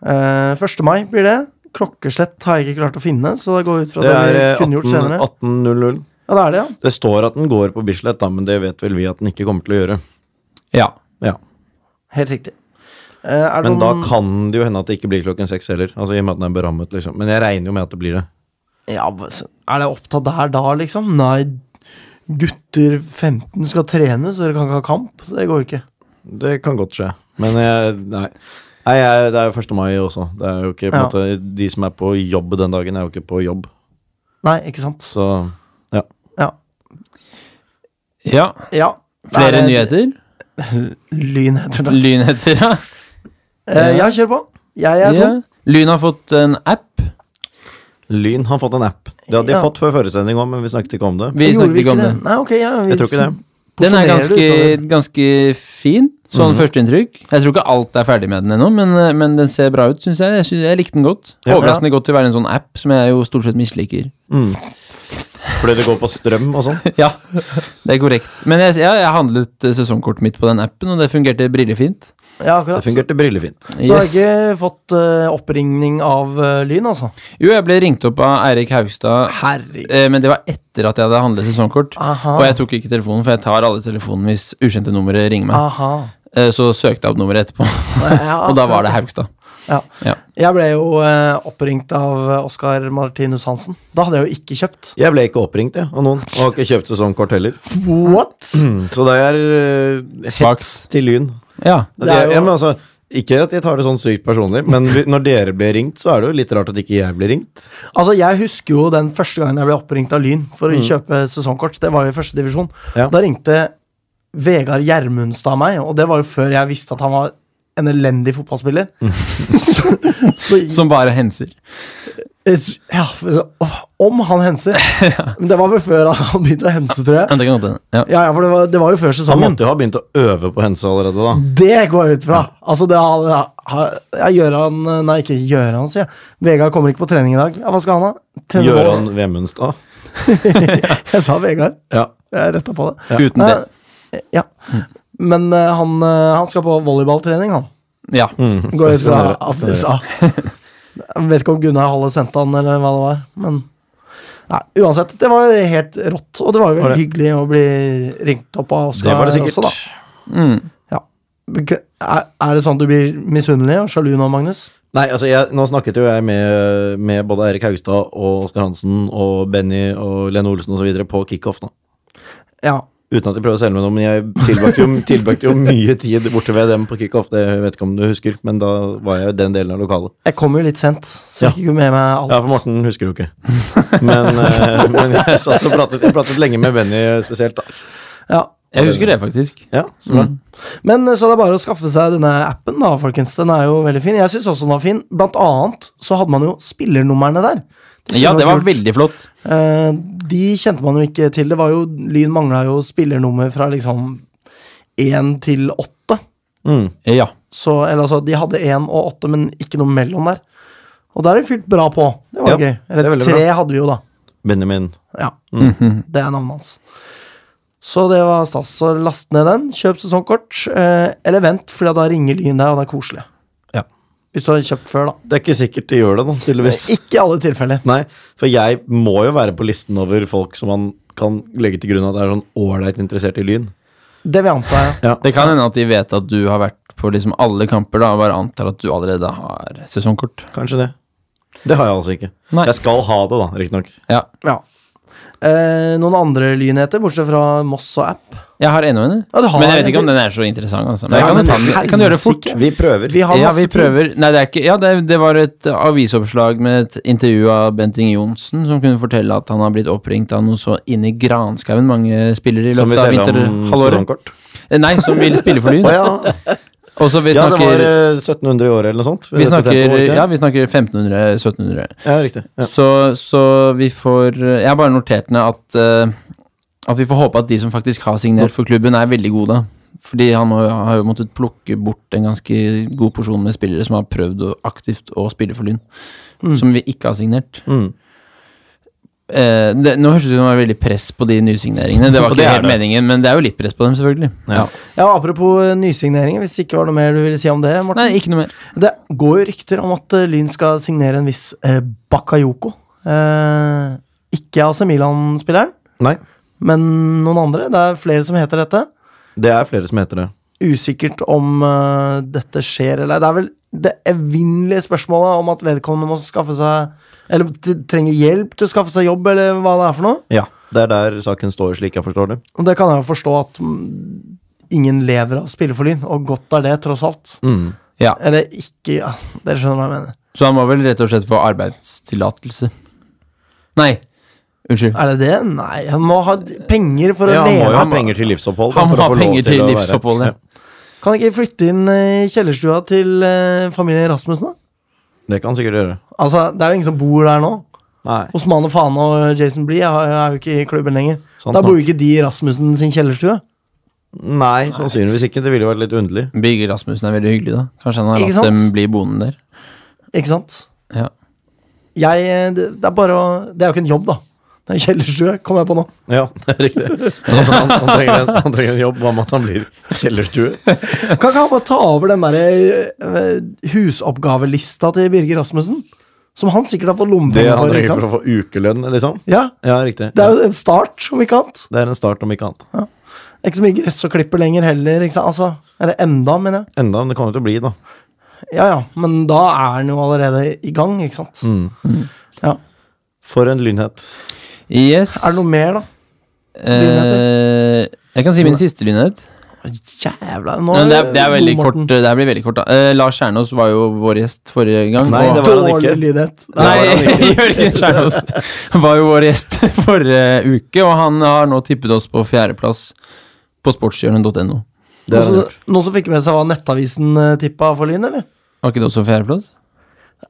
Speaker 2: Eh, 1. mai blir det. Klokkeslett har jeg ikke klart å finne, så det går ut fra
Speaker 3: Det
Speaker 2: det,
Speaker 3: er
Speaker 2: vi
Speaker 3: eh,
Speaker 2: kunne gjort
Speaker 3: 18
Speaker 2: senere.
Speaker 3: 18.00.
Speaker 2: Ja, det er det, ja.
Speaker 3: Det står at den går på Bislett, da, men det vet vel vi at den ikke kommer til å gjøre.
Speaker 1: ja.
Speaker 3: Ja.
Speaker 2: Helt riktig. Eh, er det
Speaker 3: Men da
Speaker 2: noen-
Speaker 3: kan det jo hende at det ikke blir klokken seks heller. Altså i og med at den er berammet, liksom. Men jeg regner jo med at det blir det.
Speaker 2: ja, Er det opptatt der da, liksom? Nei, gutter 15 skal trene, så dere kan ikke ha kamp. Det går jo ikke.
Speaker 3: Det kan godt skje. Men jeg, nei. Nei, jeg, det er jo 1. mai også. Det er jo ikke, på en
Speaker 2: Ja.
Speaker 3: måte, de som er på jobb den dagen, er jo ikke på jobb.
Speaker 2: Nei, ikke sant?
Speaker 3: Så ja.
Speaker 2: Ja.
Speaker 1: Ja.
Speaker 2: ja. Er
Speaker 1: Flere
Speaker 2: det-
Speaker 1: nyheter?
Speaker 2: Lyn heter det.
Speaker 1: Lynheter, ja.
Speaker 2: Eh, ja, kjør på. Jeg er
Speaker 1: ja.
Speaker 2: tom.
Speaker 1: Lyn har fått en app.
Speaker 3: Lyn har fått en app. Det hadde de
Speaker 2: Ja.
Speaker 3: fått før forestilling òg, men vi snakket ikke om det.
Speaker 1: Vi
Speaker 2: Gjorde
Speaker 1: snakket ikke om
Speaker 2: det?
Speaker 1: den.
Speaker 2: Nei, ok, ja, vi
Speaker 3: Jeg tror ikke det.
Speaker 1: Den er
Speaker 2: porsjonerer
Speaker 1: ganske,
Speaker 2: ut av det.
Speaker 1: ganske fin, sånn førsteinntrykk. Jeg tror ikke alt er ferdig med den ennå, men, eh, men den ser bra ut, syns jeg. Jeg, synes, jeg likte den godt.
Speaker 3: Ja.
Speaker 1: Overraskende godt til å være en sånn app, som jeg jo stort sett misliker.
Speaker 3: Mm. Fordi det går på strøm og sånn.
Speaker 1: Ja, det er korrekt. Men jeg, ja, jeg handlet eh, sesongkortet mitt på den appen, og det fungerte brillefint.
Speaker 2: Ja, akkurat.
Speaker 3: Det fungerte brillefint.
Speaker 2: Så jeg har
Speaker 1: Yes.
Speaker 2: ikke fått eh, oppringning av eh, Lyn, altså.
Speaker 1: Jo, jeg ble ringt opp av Eirik Haugstad,
Speaker 2: Herregud.
Speaker 1: eh, men det var etter at jeg hadde handlet sesongkort.
Speaker 2: Aha.
Speaker 1: Og jeg tok ikke telefonen, for jeg tar alle telefonene hvis ukjente numre ringer meg.
Speaker 2: Aha.
Speaker 1: Eh, Så søkte jeg opp nummeret etterpå,
Speaker 2: Ah. Ja,
Speaker 1: og da var det Haugstad.
Speaker 2: Jeg ble jo eh, oppringt av eh, Oskar Martinus Hansen. Da hadde jeg jo ikke kjøpt.
Speaker 3: Jeg ble ikke oppringt jeg, av noen, og har ikke kjøpt sesongkort heller.
Speaker 2: What?
Speaker 3: Mm, Så det er eh, hets
Speaker 1: Svakt.
Speaker 3: til Lyn.
Speaker 1: Ja.
Speaker 3: Det
Speaker 2: Det er
Speaker 3: er,
Speaker 2: jo-
Speaker 3: ja, men altså, ikke at jeg tar det sånn sykt personlig, men vi- når dere blir ringt, så er det jo litt rart at ikke jeg blir ringt.
Speaker 2: Altså, Jeg husker jo den første gangen jeg ble oppringt av Lyn for å kjøpe sesongkort. Det var jo i første divisjon.
Speaker 3: Mm. Ja.
Speaker 2: Da ringte Vegard Gjermundstad meg, og det var jo før jeg visste at han var en elendig fotballspiller.
Speaker 3: Mm.
Speaker 2: så, så,
Speaker 1: Som bare henser.
Speaker 2: it's- ja, om han henser. Men det var vel før han begynte å hense, tror jeg.
Speaker 1: Ja, det kan godt hende. Ja.
Speaker 2: Ja, Sånn, ja, for det var, det var jo før
Speaker 3: Han
Speaker 2: sesongen.
Speaker 3: måtte jo ha begynt å øve på hense allerede da.
Speaker 2: Det går jeg ut fra. Altså, det har, har ja, Gjøran Nei, ikke Gjøran, sier jeg. Vegard kommer ikke på trening i dag. Ja, hva skal han ha? Trene
Speaker 3: Gjøran Vemundstad.
Speaker 2: mål? Jeg sa Vegard.
Speaker 3: Ja.
Speaker 2: Jeg retta på det.
Speaker 1: Uten det.
Speaker 2: Eh, Ja. Men eh, han, eh, han skal på volleyballtrening, han.
Speaker 1: Ja.
Speaker 2: Går jeg ut
Speaker 3: skal
Speaker 2: fra
Speaker 3: han gjøre.
Speaker 2: at du sa. Jeg vet ikke om Gunnar Halle sendte han, eller hva det var. Men nei, uansett, det var helt rått. Og det var jo
Speaker 3: Var
Speaker 2: veldig
Speaker 3: det?
Speaker 2: hyggelig å bli ringt opp av Oskar.
Speaker 3: Det var det sikkert.
Speaker 2: Også,
Speaker 1: Mm.
Speaker 2: da. Bekle- Er, er det sånn at du blir misunnelig og sjalu nå, Magnus?
Speaker 3: Nei, altså jeg, Nå snakket jo jeg med, med både Eirik Haugstad og Oskar Hansen og Benny og Lene Olsen osv. på kickoff nå.
Speaker 2: Ja.
Speaker 3: Uten at de prøver å selge meg noe, men jeg tilbrakte jo, tilbrakte jo mye tid borte ved dem på kickoff. Det jeg vet ikke om du husker, men da var jeg i den delen av lokalet.
Speaker 2: Jeg kom jo litt sent, så
Speaker 3: Ja.
Speaker 2: jeg fikk jo med meg alt.
Speaker 3: Ja, for Morten husker jo ikke. Men, eh, men jeg satt og pratet, jeg pratet lenge med Benny spesielt, da.
Speaker 2: Ja.
Speaker 1: Jeg husker det, faktisk.
Speaker 3: Ja, så bra.
Speaker 2: Men eh, så det er bare å skaffe seg denne appen, da, folkens. Den er jo veldig fin. Jeg syns også den var fin. Blant annet så hadde man jo spillernumrene der. synes
Speaker 1: Ja,
Speaker 2: jeg
Speaker 1: det var
Speaker 2: kult.
Speaker 1: veldig flott.
Speaker 2: Eh, de kjente man jo ikke til. Det var jo, Lyn mangla jo spillernummer fra liksom én til åtte.
Speaker 3: Mm.
Speaker 1: Ja.
Speaker 2: Så, eller altså, de hadde én og åtte, men ikke noe mellom der. Og der er det fylt bra på. Det var
Speaker 3: Ja,
Speaker 2: gøy.
Speaker 3: det er
Speaker 2: Eller
Speaker 3: veldig
Speaker 2: tre hadde vi jo, da.
Speaker 3: Benjamin.
Speaker 2: Ja, Det er navnet hans. Så det var stas. Så last ned den. Kjøp sesongkort. Eh, eller vent, for da ringer Lyn deg, og det er koselig.
Speaker 3: Ja.
Speaker 2: Hvis du har kjøpt før, da.
Speaker 3: Det er ikke sikkert de gjør det, da, tydeligvis.
Speaker 2: Ikke i alle tilfeller.
Speaker 3: Nei, for jeg må jo være på listen over folk som man kan legge til grunn at er sånn ålreit interessert i lyn.
Speaker 2: Det vil jeg anta. Ja.
Speaker 1: Det kan hende at de vet at du har vært på liksom alle kamper, da, og bare antar at du allerede har sesongkort.
Speaker 3: Kanskje det. Det har jeg altså ikke.
Speaker 1: Nei.
Speaker 3: Jeg skal ha det, da, riktignok.
Speaker 1: Ja.
Speaker 2: Ja. Eh, noen andre lynheter, bortsett fra Moss og app?
Speaker 1: Jeg har ennå en,
Speaker 2: Ja, du har
Speaker 1: men jeg vet
Speaker 2: en,
Speaker 1: ikke om
Speaker 2: du.
Speaker 1: den er så interessant. Altså. Men
Speaker 2: Ja,
Speaker 1: jeg kan,
Speaker 2: men
Speaker 1: ta den. Jeg kan gjøre det fort.
Speaker 2: helsike.
Speaker 3: Vi prøver.
Speaker 2: Vi har
Speaker 1: Ja,
Speaker 2: masse
Speaker 1: vi prøver. Nei, det er ikke Ja, det, det var et avisoppslag med et intervju av Bent Inge Johnsen, som kunne fortelle at han har blitt oppringt av noe så inn i granskauen mange spillere i
Speaker 3: Som vi
Speaker 1: løpet av
Speaker 3: selger om
Speaker 1: vinterhalvåret.
Speaker 3: sesongkort.
Speaker 1: Eh, Nei, som vil spille for Lyn.
Speaker 3: Å ja.
Speaker 1: Og så vi
Speaker 3: ja, det var
Speaker 1: snakker
Speaker 3: eh, 1700 i året eller noe sånt.
Speaker 1: Vi
Speaker 3: Dette tempoet, var
Speaker 1: snakker,
Speaker 3: det ikke det?
Speaker 1: ja, vi snakker 1500-1700.
Speaker 3: ja, riktig. Ja.
Speaker 1: Så, så vi får Jeg har bare notert ned at, eh, at vi får håpe at de som faktisk har signert for klubben, er veldig gode. Fordi han har, har jo måttet plukke bort en ganske god porsjon med spillere som har prøvd å, aktivt å spille for Lyn, som vi ikke har signert.
Speaker 3: Mm.
Speaker 1: Eh, det, nå høres det ut som det var veldig press på de nysigneringene. Det var
Speaker 3: Og
Speaker 1: ikke
Speaker 3: det er
Speaker 1: helt
Speaker 3: det.
Speaker 1: meningen, men det er jo litt press på dem, selvfølgelig.
Speaker 3: Ja.
Speaker 2: Ja, Apropos eh, nysigneringer, hvis det ikke var noe mer du ville si om det? Morten?
Speaker 1: Nei, ikke noe mer.
Speaker 2: Det går jo rykter om at eh, Lyn skal signere en viss eh, Bakayoko. Eh, ikke AC Milan-spilleren,
Speaker 3: Nei,
Speaker 2: men noen andre. Det er flere som heter dette.
Speaker 3: det er flere som heter det.
Speaker 2: usikkert om eh, dette skjer eller ei. Det er vel det evinnelige spørsmålet om at vedkommende må skaffe seg Eller t- trenger hjelp til å skaffe seg jobb, eller hva det er for noe.
Speaker 3: Ja, det er der saken står, slik jeg forstår det.
Speaker 2: Og det kan jeg jo forstå at mm, ingen lever av å spille for Lyn, og godt er det, tross alt.
Speaker 3: Mm.
Speaker 1: Ja.
Speaker 2: Eller ikke ja. Dere skjønner hva jeg mener.
Speaker 1: Så han var vel rett og slett for arbeidstillatelse. Nei, unnskyld.
Speaker 2: Er det det? Nei, han må ha d- penger for å
Speaker 3: Ja, han må jo
Speaker 2: leve.
Speaker 3: ha penger til livsopphold. da,
Speaker 1: Han må
Speaker 3: for å
Speaker 1: ha
Speaker 3: få lov
Speaker 1: penger
Speaker 3: til
Speaker 1: til
Speaker 3: å være-
Speaker 1: livsopphold, ja.
Speaker 2: Kan ikke flytte inn eh, i kjellerstua til eh, familien Rasmussen, da?
Speaker 3: Det kan han sikkert gjøre.
Speaker 2: Altså, det er jo ingen som bor der nå.
Speaker 3: Nei,
Speaker 2: Osmane Fane og Jason Blee er, er jo ikke i klubben lenger.
Speaker 3: sant
Speaker 2: da bor
Speaker 3: nok.
Speaker 2: jo ikke de i Rasmussen sin kjellerstue.
Speaker 3: Nei, sannsynligvis ikke. Det ville jo vært litt underlig.
Speaker 1: Birger Rasmussen er veldig hyggelig, da. Kanskje han har
Speaker 2: Ikke
Speaker 1: latt dem
Speaker 2: sant?
Speaker 1: bli boende der.
Speaker 2: Ikke sant?
Speaker 1: Ja.
Speaker 2: Jeg, eh, det, det er bare å Det er jo ikke en jobb, da. Det er en kjellerstue, kom jeg på nå.
Speaker 3: Ja, det er riktig. Han, han, han, trenger, en, han trenger en jobb. Hva med at han blir kjellerstue?
Speaker 2: Kan ikke han bare ta over den derre eh, husoppgavelista til Birger Rasmussen? Som han sikkert har fått
Speaker 3: Det
Speaker 2: lommepenger
Speaker 3: han
Speaker 2: for. ikke
Speaker 3: trenger
Speaker 2: sant?
Speaker 3: for å få ukelønn, liksom?
Speaker 2: Ja,
Speaker 3: Ja, riktig.
Speaker 2: Det er jo en start, om ikke annet.
Speaker 3: Det er en start, om ikke annet.
Speaker 2: Det er Ikke så mye gress å klippe lenger heller. Ikke sant? Altså, eller enda, mener jeg.
Speaker 3: Enda, men det kommer til å bli, da.
Speaker 2: Ja ja, men da er han jo allerede i gang, ikke sant.
Speaker 3: Mm.
Speaker 2: Mm. Ja.
Speaker 3: For en lynhet.
Speaker 1: Yes.
Speaker 2: Er det noe mer, da?
Speaker 1: eh, jeg kan si min siste lynhet.
Speaker 2: Jævla nå,
Speaker 1: Men det, er- det, er veldig
Speaker 2: Bo Morten.
Speaker 1: kort, det her blir veldig kort. da. Eh, Lars Kjernås var jo vår gjest forrige gang.
Speaker 3: Nei,
Speaker 1: og-
Speaker 3: det var han ikke.
Speaker 2: Dårlig lydhet.
Speaker 1: Nei,
Speaker 3: Det var han
Speaker 1: Jørgen Kjernås var jo vår gjest forrige uke, og han har nå tippet oss på fjerdeplass på sportshjørnet.no.
Speaker 3: Det er
Speaker 2: noen, som, noen som fikk med seg hva Nettavisen eh, tippa for Lyn, eller?
Speaker 1: Var ikke det også fjerdeplass?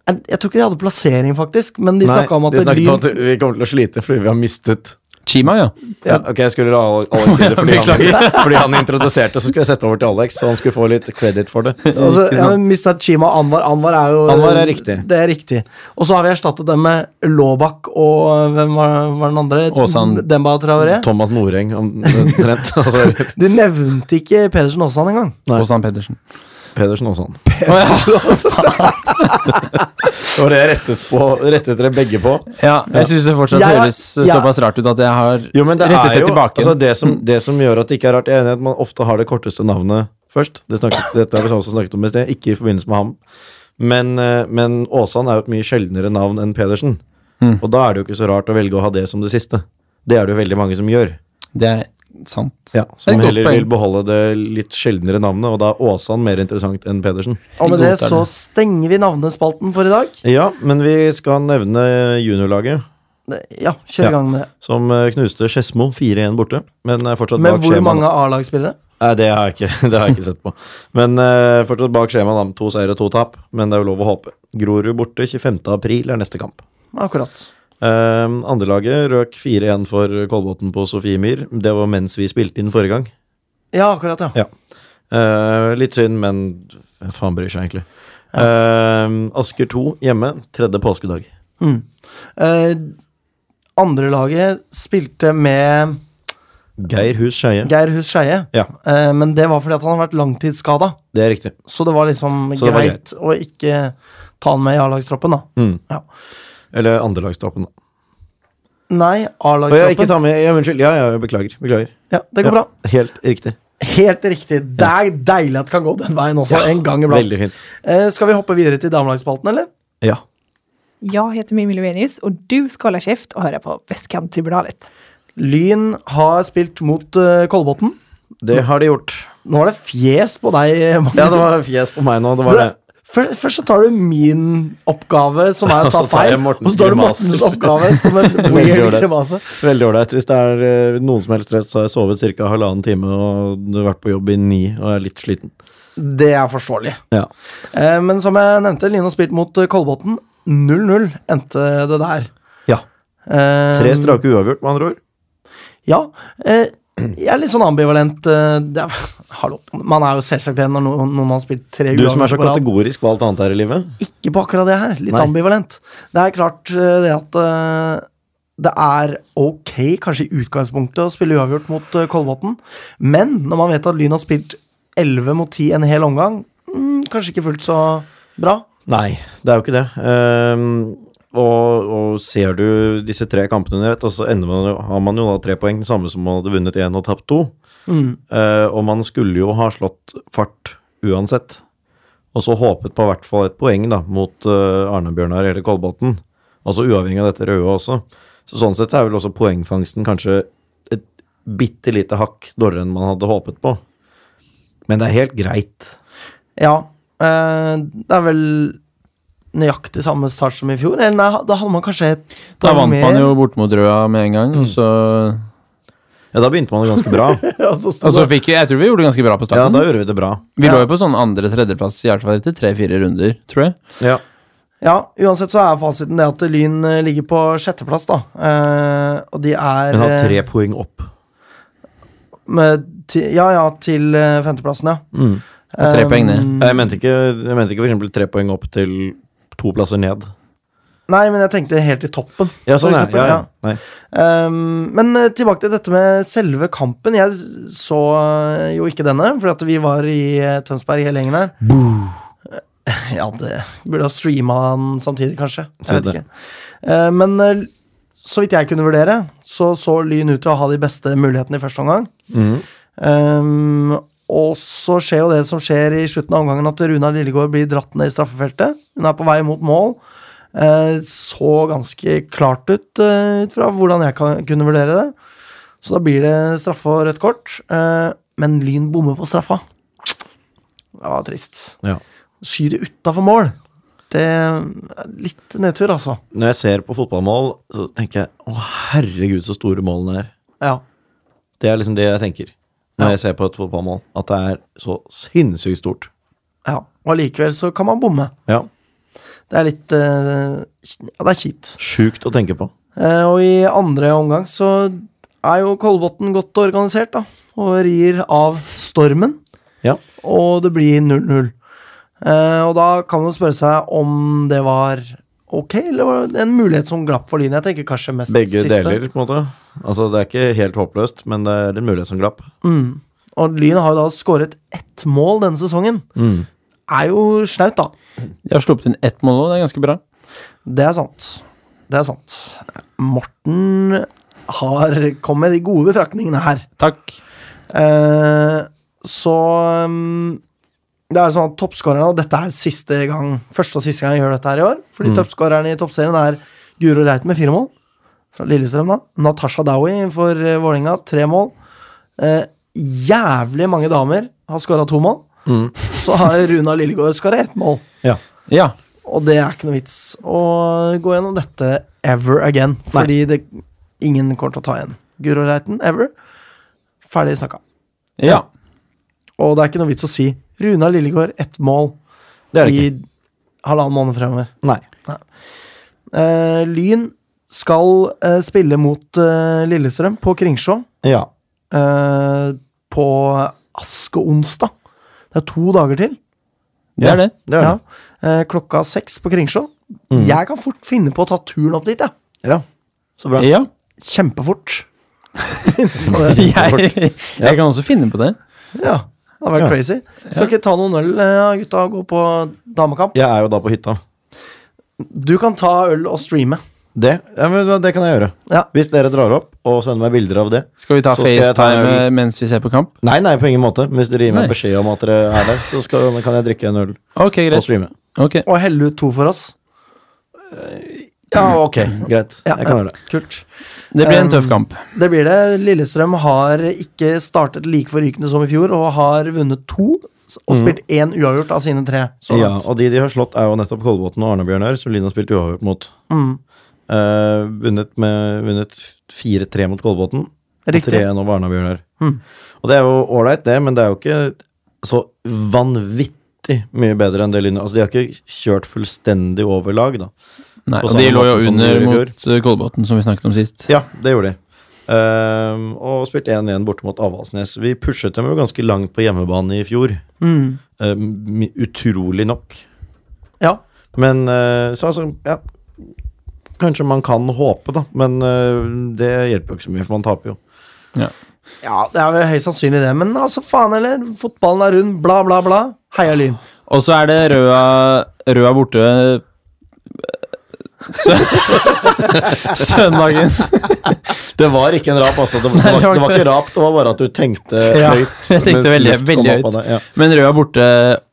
Speaker 2: Jeg, jeg tror ikke de hadde plassering, faktisk, men de
Speaker 3: Nei,
Speaker 2: snakka om at
Speaker 3: de snakket
Speaker 2: Lyn
Speaker 3: om at vi kommer til å slite fordi vi har mistet
Speaker 1: Chima, ja.
Speaker 3: Ja, ok, jeg skulle la Al- Alex si det fordi han, fordi han introduserte, så skulle jeg sette over til Alex, så han skulle få litt credit for det.
Speaker 2: altså, ja, men Mista Chima og Anwar. Anwar er jo
Speaker 3: Anwar er riktig.
Speaker 2: Det er riktig. Og så har vi erstattet dem med Laabak og eh, hvem var, var den andre?
Speaker 1: Aasan.
Speaker 2: Demba Traoré.
Speaker 3: Thomas Noreng, omtrent. Altså,
Speaker 2: De nevnte ikke Pedersen Aasand engang.
Speaker 3: Nei.
Speaker 1: Åsan Pedersen.
Speaker 3: Pedersen også, han.
Speaker 1: Å,
Speaker 3: Det var det jeg rettet, på, rettet dere begge på.
Speaker 1: Ja, jeg syns det fortsatt
Speaker 2: Jeg-
Speaker 1: høres eh,
Speaker 2: jeg-
Speaker 1: såpass rart ut at jeg har
Speaker 3: Jo, men det
Speaker 1: rettet
Speaker 3: er
Speaker 1: det
Speaker 3: jo
Speaker 1: tilbake.
Speaker 3: altså, det, som, det som gjør at det ikke er rart, jeg er enig i at man ofte har det korteste navnet først. Det snakket, dette har vi også snakket om i sted, ikke i forbindelse med ham. Men, eh, men Åsan er jo et mye sjeldnere navn enn Pedersen.
Speaker 1: Mm.
Speaker 3: Og da er det jo ikke så rart å velge å ha det som det siste. Det er det jo veldig mange som gjør.
Speaker 1: det er sant.
Speaker 3: Ja,
Speaker 1: Det er
Speaker 3: Som
Speaker 1: et godt
Speaker 3: heller
Speaker 1: poeng.
Speaker 3: vil beholde det litt sjeldnere navnet, og da er Åsan mer interessant enn Pedersen.
Speaker 2: Og med det
Speaker 1: godtar
Speaker 2: så
Speaker 1: det.
Speaker 2: stenger vi navnespalten for i dag.
Speaker 3: Ja, men vi skal nevne juniorlaget,
Speaker 2: Ja, kjør i
Speaker 3: Ja.
Speaker 2: gang med det.
Speaker 3: som eh, knuste Skedsmo 4-1 borte. Men er fortsatt
Speaker 2: Med
Speaker 3: bak
Speaker 2: hvor
Speaker 3: skjemaet.
Speaker 2: mange A-lagsspillere?
Speaker 3: Nei, det har jeg ikke, det har jeg ikke sett på. Men eh, fortsatt bak skjemaet, da. To seier og to tap, men det er jo lov å håpe. Grorud borte 25. april er neste kamp.
Speaker 2: Akkurat.
Speaker 3: Um, Andrelaget røk 4-1 for Kolbotn på Sofiemyr. Det var mens vi spilte inn forrige gang.
Speaker 2: Ja, akkurat, ja.
Speaker 3: Ja. Eh, litt synd, men hvem faen bryr seg egentlig. Eh, Asker 2 hjemme, tredje påskedag.
Speaker 2: Mm. Eh, andre laget spilte med
Speaker 3: Geir Hus Skeie.
Speaker 2: Geir Hus Skeie,
Speaker 3: Ja,
Speaker 2: eh, men det var fordi at han har vært langtidsskada.
Speaker 3: det er riktig.
Speaker 2: Så det var liksom
Speaker 3: Så det var
Speaker 2: greit å ikke ta han med i A-lagstroppen, da.
Speaker 3: Mm.
Speaker 2: Ja.
Speaker 3: Eller andrelagstroppen, da.
Speaker 2: Nei,
Speaker 3: Å, ja, ikke
Speaker 2: A-lagstroppen.
Speaker 3: ta med ja, Unnskyld. Ja, ja, beklager. Beklager.
Speaker 2: Ja, det går
Speaker 3: ja,
Speaker 2: bra.
Speaker 3: Helt riktig.
Speaker 2: Helt riktig. Det er deilig at det kan gå den veien også, en gang iblant.
Speaker 3: Veldig fint.
Speaker 2: Eh, skal vi hoppe videre til damelagsspalten, eller?
Speaker 3: Ja.
Speaker 5: Jag heter Mimmi Lovenius och du ska hålla käft och höra på Västkanttribunalet.
Speaker 2: Lyn har spilt mot eh, Kolbotn.
Speaker 3: Det har de gjort.
Speaker 2: Nå er det fjes på deg, Magnus.
Speaker 3: Ja, det var fjes på meg nå. Det var det.
Speaker 2: Først, først så tar du min oppgave, som er å
Speaker 3: Og
Speaker 2: ta
Speaker 3: så tar
Speaker 2: feil,
Speaker 3: jeg
Speaker 2: og
Speaker 3: Mortens
Speaker 2: så tar du
Speaker 3: grimaser.
Speaker 2: Mortens oppgave som en
Speaker 3: Veldig
Speaker 2: weird
Speaker 3: ålreit.
Speaker 2: grimase.
Speaker 3: Veldig ålreit. Hvis det er eh, noen som helst stress, så har jeg sovet ca. halvannen time og du har vært på jobb i ni og er litt sliten.
Speaker 2: Det er forståelig.
Speaker 3: Ja.
Speaker 2: Eh, men som jeg nevnte, Line har spilt mot eh, Kolbotn. 0-0 endte det der.
Speaker 3: ja.
Speaker 2: Eh,
Speaker 3: Tre strake uavgjort, med andre ord.
Speaker 2: Ja. Eh, jeg er litt sånn ambivalent. Eh, det er, hallo. Man er jo selvsagt det når noen, noen har spilt tre
Speaker 3: Du som er så
Speaker 2: på rad.
Speaker 3: kategorisk på alt annet her i livet.
Speaker 2: ikke på akkurat det her. Litt
Speaker 3: Nei.
Speaker 2: ambivalent. Det er klart eh, det at eh, det er ok, kanskje i utgangspunktet, å spille uavgjort mot eh, Kolbotn, men når man vet at Lyn har spilt 11 mot 10 en hel omgang, mm, kanskje ikke fullt så bra.
Speaker 3: Nei, det er jo ikke det. Ehm, Og, og ser du disse tre kampene under ett, og så ender man, jo- har man jo da tre poeng, det samme som man hadde vunnet én og tapt to.
Speaker 2: Mm.
Speaker 3: Eh, og man skulle jo ha slått fart uansett. Og så håpet på i hvert fall et poeng da, mot eh, Arne-Bjørnar eller Kolbotn. Altså uavhengig av dette røde også. Så sånn sett så er vel også poengfangsten kanskje et bitte lite hakk dårligere enn man hadde håpet på. Men det er helt greit.
Speaker 2: Ja. eh, det er vel nøyaktig samme start som i fjor? Eller nei, da hadde man kanskje et
Speaker 1: Da
Speaker 2: poeng
Speaker 1: vant
Speaker 2: mer,
Speaker 1: man jo bort mot Røa med en
Speaker 3: Mm.
Speaker 1: gang, og så
Speaker 3: Ja, da begynte man jo ganske bra.
Speaker 2: og så sto
Speaker 1: Og så
Speaker 2: det-
Speaker 1: fikk vi Jeg tror vi gjorde det ganske bra på
Speaker 3: Altså- Ja, da
Speaker 1: starten.
Speaker 3: gjorde vi det bra.
Speaker 1: Vi lå
Speaker 2: ja.
Speaker 1: jo på sånn andre-tredjeplass i hvert fall etter tre-fire runder, tror jeg.
Speaker 3: Ja.
Speaker 2: Ja, uansett så er fasiten det at Lyn eh, ligger på sjetteplass, da. Eh, og de er
Speaker 3: Men har tre
Speaker 2: eh,
Speaker 3: poeng opp.
Speaker 2: med, ti, Ja, ja, til eh, femteplassen, ja.
Speaker 3: Mm.
Speaker 1: Og tre
Speaker 2: Um,
Speaker 1: poeng ned.
Speaker 3: Jeg mente ikke, jeg mente ikke for eksempel tre poeng opp til to plasser ned.
Speaker 2: Nei, men jeg tenkte helt i toppen.
Speaker 3: Ja, sånn
Speaker 2: for
Speaker 3: er
Speaker 2: eksempel,
Speaker 3: ja, ja. Nei.
Speaker 2: Um, men eh, tilbake til dette med selve kampen. Jeg så eh, jo ikke denne, fordi at vi var i eh, Tønsberg hele gjengen her. Eh, Ja, det burde ha streama den samtidig, kanskje.
Speaker 3: Så
Speaker 2: Jeg vet
Speaker 3: det.
Speaker 2: ikke. Eh, men eh, så vidt jeg kunne vurdere, så så Lyn ut til å ha de beste mulighetene i første omgang.
Speaker 3: Mhm.
Speaker 2: Um, og så skjer jo det som skjer i slutten av omgangen, at Runar Lillegård blir dratt ned i straffefeltet. Hun er på vei mot mål. Eh, så ganske klart ut eh, ut fra hvordan jeg kan, kunne vurdere det. Så da blir det straffe og rødt kort. Eh, men Lyn bommer på straffa. Det var trist.
Speaker 3: Ja.
Speaker 2: Skyter utafor mål. Det er litt nedtur, altså.
Speaker 3: Når jeg ser på fotballmål, så tenker jeg å herregud, så store målene er.
Speaker 2: Ja.
Speaker 3: Det er liksom det jeg tenker når
Speaker 2: Ja.
Speaker 3: jeg ser på et fotballmål. At det er så sinnssykt stort.
Speaker 2: ja. Og allikevel så kan man bomme.
Speaker 3: Ja.
Speaker 2: Det er litt eh, Ja, det er kjipt.
Speaker 3: Sjukt å tenke på.
Speaker 2: Eh, og i andre omgang så er jo Kolbotn godt organisert, da. Og rir av stormen.
Speaker 3: Ja.
Speaker 2: Og det blir 0-0. Eh, og da kan man jo spørre seg om det var ok, eller var det en mulighet som glapp for Lyn? Jeg tenker kanskje mest
Speaker 3: Begge
Speaker 2: siste.
Speaker 3: deler, på en måte. Altså, det er ikke helt håpløst, men det er en mulighet som glapp.
Speaker 2: Mm. Og Lyn har jo da skåret ett mål denne sesongen.
Speaker 3: Mm.
Speaker 2: Er jo snaut, da.
Speaker 1: De har sluppet inn ett mål òg, det er ganske bra.
Speaker 2: Det er sant. Det er sant. Morten har kommet med de gode betraktningene her.
Speaker 1: Takk.
Speaker 2: Eh, så um, det er sånn at toppskårerne Og dette er siste gang første og siste gang jeg gjør dette her i år. Fordi toppskåreren i toppserien er Guro Reiten med fire mål. Fra Lillestrøm, da. Natasha Dowie for eh, Vålerenga, tre mål. Eh, jævlig mange damer har skåra to mål.
Speaker 3: Mm.
Speaker 2: Så har Runa Lillegård skåra ett mål.
Speaker 1: Ja.
Speaker 2: Og det er ikke noe vits å gå gjennom dette ever again. Fordi det, ingen kommer til å ta igjen Guro Reiten ever. Ferdig snakka.
Speaker 1: Ja.
Speaker 2: Og det er ikke noe vits å si Runar Lillegård ett mål
Speaker 3: Det er det
Speaker 2: i
Speaker 3: ikke.
Speaker 2: halvannen måned fremover.
Speaker 3: Nei.
Speaker 2: Eh, Lyn skal eh, spille mot eh, Lillestrøm på Kringsjå
Speaker 3: Ja.
Speaker 2: eh, på askeonsdag. Det er to dager til.
Speaker 1: Det er det.
Speaker 3: Det Mm. er
Speaker 2: ja.
Speaker 3: det.
Speaker 2: Eh, klokka seks på Kringsjå. Jeg kan fort finne på å ta turen opp dit, jeg.
Speaker 3: Ja. Så bra.
Speaker 1: Ja.
Speaker 2: Kjempefort.
Speaker 1: Jeg, jeg kan også finne på det.
Speaker 2: Ja, det hadde vært
Speaker 3: Ja.
Speaker 2: crazy. Skal ikke ta noen øl, eh, gutta, og gå på damekamp.
Speaker 3: Jeg er jo da på hytta.
Speaker 2: Du kan ta øl og streame.
Speaker 3: Det, ja, men det kan jeg gjøre.
Speaker 2: Ja.
Speaker 3: Hvis dere drar opp og sender meg bilder av det
Speaker 1: Skal vi ta
Speaker 3: Så skal jeg ta en
Speaker 1: FaceTime eh, mens vi ser på kamp?
Speaker 3: Nei, nei, på ingen måte. Men Hvis dere gir meg
Speaker 1: Nei.
Speaker 3: beskjed om at dere er der, så skal, kan jeg drikke en øl
Speaker 1: Ok,
Speaker 3: og
Speaker 1: greit.
Speaker 3: streame.
Speaker 1: Ok.
Speaker 2: Og helle ut to for oss. Eh,
Speaker 3: Ja, ok, greit.
Speaker 2: Ja,
Speaker 3: jeg kan
Speaker 2: ja.
Speaker 3: gjøre det.
Speaker 2: Kult.
Speaker 1: Det blir
Speaker 2: Um,
Speaker 1: en tøff kamp.
Speaker 2: Det blir det. Lillestrøm har ikke startet like forrykende som i fjor, og har vunnet to. Og
Speaker 1: Mm.
Speaker 2: spilt én uavgjort av sine tre. Så
Speaker 3: ja,
Speaker 2: langt.
Speaker 3: og de de har slått, er jo nettopp Kolbotn og Arne-Bjørnar, som Lyn har spilt uavgjort mot.
Speaker 2: Mm.
Speaker 3: Eh, vunnet med- vunnet 4-3 mot Kolbotn, og
Speaker 2: Riktig.
Speaker 3: 3-1 over Arne-Bjørnar.
Speaker 2: Mm.
Speaker 3: Og det er jo ålreit, det, men det er jo ikke så vanvittig mye bedre enn det Lyn Altså, de har ikke kjørt fullstendig over lag, da.
Speaker 1: Nei,
Speaker 3: på
Speaker 1: og de lå
Speaker 3: samme
Speaker 1: jo
Speaker 3: måte som de
Speaker 1: under
Speaker 3: gjorde i
Speaker 1: mot eh, Kolbotn, som vi snakket om sist.
Speaker 3: Ja, det gjorde de. Ehm, og spilt 1-1 borte mot Avaldsnes. Vi pushet dem jo ganske langt på hjemmebane i fjor.
Speaker 2: Mm.
Speaker 3: Ehm, utrolig nok.
Speaker 2: Ja.
Speaker 3: Men eh, så altså, ja Kanskje man kan håpe, da, men eh, det hjelper jo ikke så mye, for man taper jo.
Speaker 2: ja, det er vel høyst sannsynlig det, men altså, faen heller. Fotballen er rund, bla, bla, bla. Heia Lyn.
Speaker 1: Og så er det Røa, Røa borte eh, Sø Søndagen.
Speaker 3: Det var ikke en rap, altså. Det var, det var, det var ikke rap, det var bare at du tenkte
Speaker 1: Ja,
Speaker 3: høyt.
Speaker 1: jeg tenkte
Speaker 3: mens
Speaker 1: veldig-
Speaker 3: luft kom
Speaker 1: veldig
Speaker 3: opp
Speaker 1: høyt.
Speaker 3: av deg. Ja.
Speaker 1: Men Rød er borte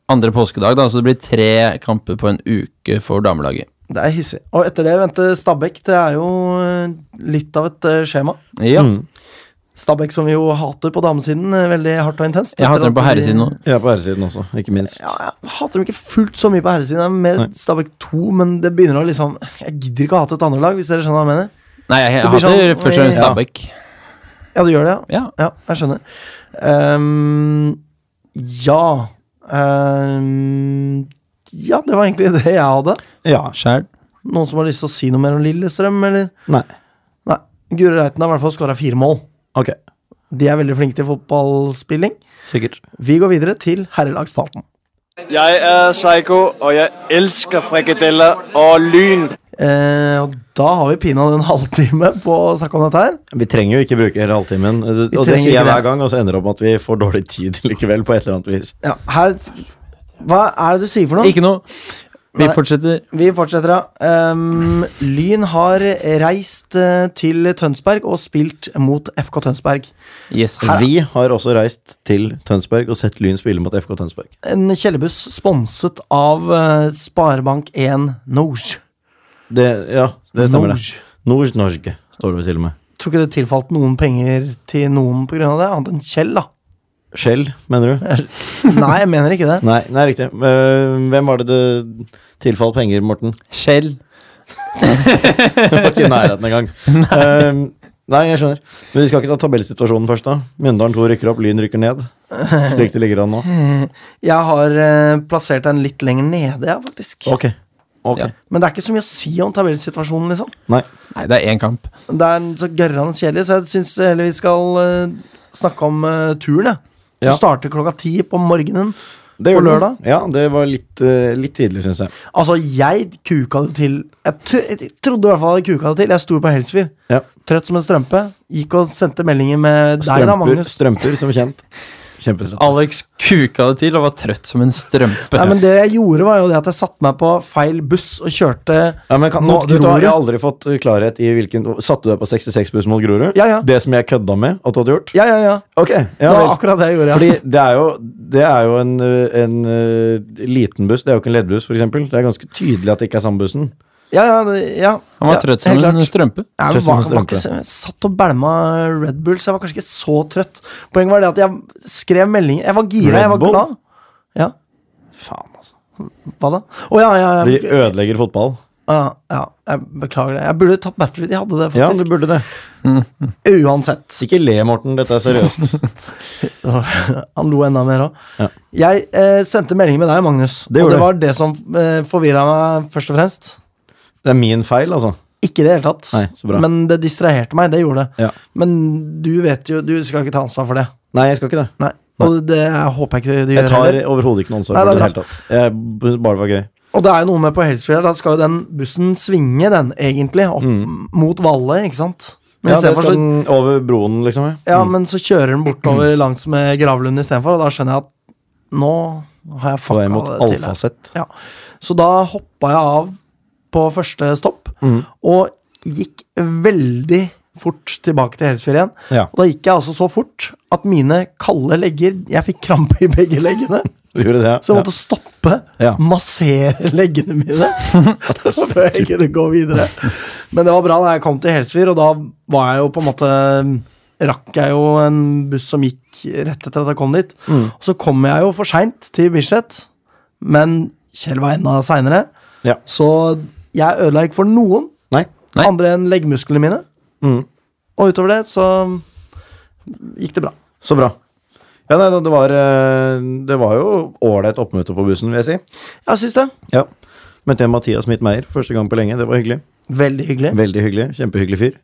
Speaker 1: andre påskedag, da, så det blir tre kamper på en uke for damelaget.
Speaker 2: Det er hissig. Og etter det venter Stabæk. Det er jo eh, litt av et eh, skjema.
Speaker 1: Ja.
Speaker 3: Mm.
Speaker 2: Stabæk som vi jo hater på damesiden eh, veldig hardt og intenst.
Speaker 1: Jeg
Speaker 2: Etter
Speaker 1: hater dem
Speaker 2: at
Speaker 1: på
Speaker 2: de-
Speaker 1: herresiden nå.
Speaker 3: Jeg er på herresiden også, ikke minst.
Speaker 2: Ja, jeg hater dem ikke fullt så mye på herresiden. Jeg er med
Speaker 3: Nei.
Speaker 2: Stabæk 2, men det begynner å liksom Jeg gidder ikke å hate et andre lag, hvis dere skjønner hva jeg mener.
Speaker 1: Nei, jeg, jeg
Speaker 2: Det blir
Speaker 1: hater
Speaker 2: sånn-
Speaker 1: først og fremst
Speaker 3: Ja.
Speaker 1: Stabæk.
Speaker 2: Ja, du gjør det, ja?
Speaker 1: Ja.
Speaker 2: Ja, jeg skjønner. Ehm, ja Ehm, Ja, det var egentlig det jeg hadde.
Speaker 3: Ja.
Speaker 1: Sjæl.
Speaker 2: Noen som har lyst til å si noe mer om Lillestrøm, eller?
Speaker 3: Nei.
Speaker 2: Nei. Guri Reiten har i hvert fall skåra fire mål.
Speaker 3: Ok.
Speaker 2: De er veldig flinke til fotballspilling.
Speaker 3: Sikkert.
Speaker 2: Vi går videre til herrelagsspalten.
Speaker 6: Jeg er Psycho, og jeg elsker frikadeller og lyn.
Speaker 2: Eh, og da har vi pinadø en halvtime på å snakke om dette her.
Speaker 3: Vi trenger jo ikke bruke hele halvtimen.
Speaker 2: Vi
Speaker 3: Og det
Speaker 2: trenger ikke
Speaker 3: sier jeg hver
Speaker 2: det.
Speaker 3: gang, og så ender det opp med at vi får dårlig tid likevel, på et eller annet vis.
Speaker 2: Ja, her Hva er det du sier for noe?
Speaker 1: Ikke noe. Vi
Speaker 2: Nei.
Speaker 1: fortsetter.
Speaker 2: Vi fortsetter, da. Ehm, Lyn har reist eh, til Tønsberg og spilt mot FK Tønsberg.
Speaker 1: Yes.
Speaker 3: Vi har også reist til Tønsberg og sett Lyn spille mot FK Tønsberg.
Speaker 2: En kjellerbuss sponset av eh, Sparebank1 Norge.
Speaker 3: Det, ja, det stemmer, det.
Speaker 2: Norge.
Speaker 3: Norsk Norge står det vel til og med.
Speaker 2: Tror ikke det tilfalt noen penger til noen pga. det, annet enn Kjell, da.
Speaker 3: Skjell, mener du?
Speaker 2: Nei, jeg mener ikke det.
Speaker 3: Nei, nei, riktig. Eh, Hvem var det det tilfalt penger, Morten?
Speaker 1: Skjell.
Speaker 3: Det var ikke i nærheten engang. Eh, nei, jeg skjønner. Men vi skal ikke ta tabellsituasjonen først, da. Mjøndalen 2 rykker opp, Lyn rykker ned. Slik det ligger an nå.
Speaker 2: Jeg har eh, plassert den litt lenger nede, ja, faktisk.
Speaker 3: Ok. ok.
Speaker 1: Ja.
Speaker 2: Men det er ikke så mye å si om tabellsituasjonen, liksom.
Speaker 3: Nei.
Speaker 1: Nei, det er én kamp.
Speaker 2: Det er så gørrende kjedelig, så jeg syns heller vi skal eh, snakke om eh, turen, jeg. Som
Speaker 3: Ja.
Speaker 2: starter klokka ti på morgenen.
Speaker 3: Det
Speaker 2: På
Speaker 3: gjorde
Speaker 2: lørdag?
Speaker 3: den. Ja, det var litt, eh, litt tidlig, syns jeg.
Speaker 2: Altså, jeg kuka det til Jeg, tro- jeg trodde i hvert fall jeg kuka det til. Jeg sto på Helsfyr,
Speaker 3: Ja.
Speaker 2: trøtt som en strømpe. Gikk og sendte meldinger med deg, da,
Speaker 3: Strømper,
Speaker 2: Magnus.
Speaker 3: strømper som kjent. Kjempetrøtt.
Speaker 1: Alex kuka det til og var trøtt som en strømpe.
Speaker 2: Nei, men Det jeg gjorde, var jo det at jeg satte meg på feil buss og kjørte
Speaker 3: Ja, men kan, nå,
Speaker 2: Mot
Speaker 3: du, vet hva,
Speaker 2: Grorud?
Speaker 3: jeg har aldri fått eh, klarhet i hvilken Satte du deg på 66-buss mot Grorud?
Speaker 2: Ja, ja.
Speaker 3: Det som jeg kødda med at du hadde gjort?
Speaker 2: Ja, ja, ja.
Speaker 3: Ok,
Speaker 2: Det
Speaker 3: ja
Speaker 2: var
Speaker 3: vel.
Speaker 2: akkurat det jeg gjorde.
Speaker 3: Fordi
Speaker 2: Ja.
Speaker 3: det er jo, det er jo en, ø, en ø, liten buss, det er jo ikke en leddbuss f.eks. Det er ganske tydelig at det ikke er samme bussen.
Speaker 2: Ja, ja, det- ja.
Speaker 1: Han var
Speaker 2: ja,
Speaker 1: trøtt som
Speaker 2: helt
Speaker 1: en
Speaker 2: klart.
Speaker 1: strømpe.
Speaker 2: Jeg
Speaker 3: Trøst
Speaker 2: var,
Speaker 3: med
Speaker 2: var ikke, så- jeg satt og bælma Red Bull, så jeg var kanskje ikke så trøtt. Poenget var det at jeg skrev meldinger. Jeg var gira,
Speaker 3: Red
Speaker 2: jeg var
Speaker 3: Bull?
Speaker 2: glad. Ja,
Speaker 3: Faen, altså.
Speaker 2: Hva da? Å ja, ja,
Speaker 3: De
Speaker 2: jeg,
Speaker 3: ødelegger fotball.
Speaker 2: ja, ja, jeg beklager det. Jeg burde tatt battery. De hadde det,
Speaker 3: Ja, du
Speaker 2: faktisk.
Speaker 3: burde det.
Speaker 2: Uansett.
Speaker 3: Ikke le, Morten. Dette er seriøst.
Speaker 2: Han lo enda mer òg.
Speaker 3: Ja.
Speaker 2: Jeg eh, sendte melding med deg, Magnus.
Speaker 3: Det
Speaker 2: og
Speaker 3: gjorde
Speaker 2: det
Speaker 3: du.
Speaker 2: var det som eh, forvirra meg først og fremst.
Speaker 3: Det er min feil, altså.
Speaker 2: Ikke i det hele tatt.
Speaker 3: Nei, så bra.
Speaker 2: Men det distraherte meg. Det gjorde det.
Speaker 3: Ja.
Speaker 2: Men du vet jo Du skal ikke ta ansvar for det.
Speaker 3: Nei, jeg skal ikke det.
Speaker 2: Nei. Og det jeg håper jeg ikke du
Speaker 3: Jeg
Speaker 2: gjør
Speaker 3: tar
Speaker 2: heller.
Speaker 3: overhodet ikke noe ansvar
Speaker 2: Nei,
Speaker 3: for det i
Speaker 2: det er
Speaker 3: det hele tatt. Jeg, bare det var gøy.
Speaker 2: Og det er jo noe med på Helsfjell, da skal jo den bussen svinge, den, egentlig, opp mot Valle, ikke sant? Men,
Speaker 3: Mm. Ja, det
Speaker 2: istedenfor
Speaker 3: skal
Speaker 2: så,
Speaker 3: den over broen, liksom. Ja.
Speaker 2: ja, men så kjører den bortover langs med Gravlund istedenfor, og da skjønner jeg at nå har jeg
Speaker 3: På vei mot
Speaker 2: fucka det til. her.
Speaker 3: Alfaset.
Speaker 2: Ja. Så da hoppa jeg av på første stopp,
Speaker 3: Mm.
Speaker 2: og gikk veldig fort tilbake til Helsfyr igjen.
Speaker 3: Ja.
Speaker 2: Og da gikk jeg altså så fort at mine kalde legger Jeg fikk krampe i begge leggene.
Speaker 3: Du gjorde det, ja.
Speaker 2: Så jeg måtte stoppe,
Speaker 3: Ja.
Speaker 2: massere leggene mine før jeg kunne gå videre. Men det var bra da jeg kom til Helsfyr, og da var jeg jo på en måte mm, Rakk jeg jo en buss som gikk rett etter at jeg kom dit.
Speaker 3: Mm.
Speaker 2: Og så kom jeg jo for seint til Bislett, men Kjell var enda seinere.
Speaker 3: Ja.
Speaker 2: Så jeg ødela ikke for noen
Speaker 3: Nei.
Speaker 1: Nei.
Speaker 2: andre enn leggmusklene mine.
Speaker 3: Mm.
Speaker 2: Og utover det så gikk det bra.
Speaker 3: Så bra. Ja, nei, det var, eh, det var jo ålreit oppmøte på bussen, vil jeg si.
Speaker 2: Jeg syns det.
Speaker 3: Ja. Møtte jeg Mathias Mitt Meyer første gang på lenge. Det var hyggelig.
Speaker 2: Veldig hyggelig.
Speaker 3: Veldig hyggelig. Kjempehyggelig fyr.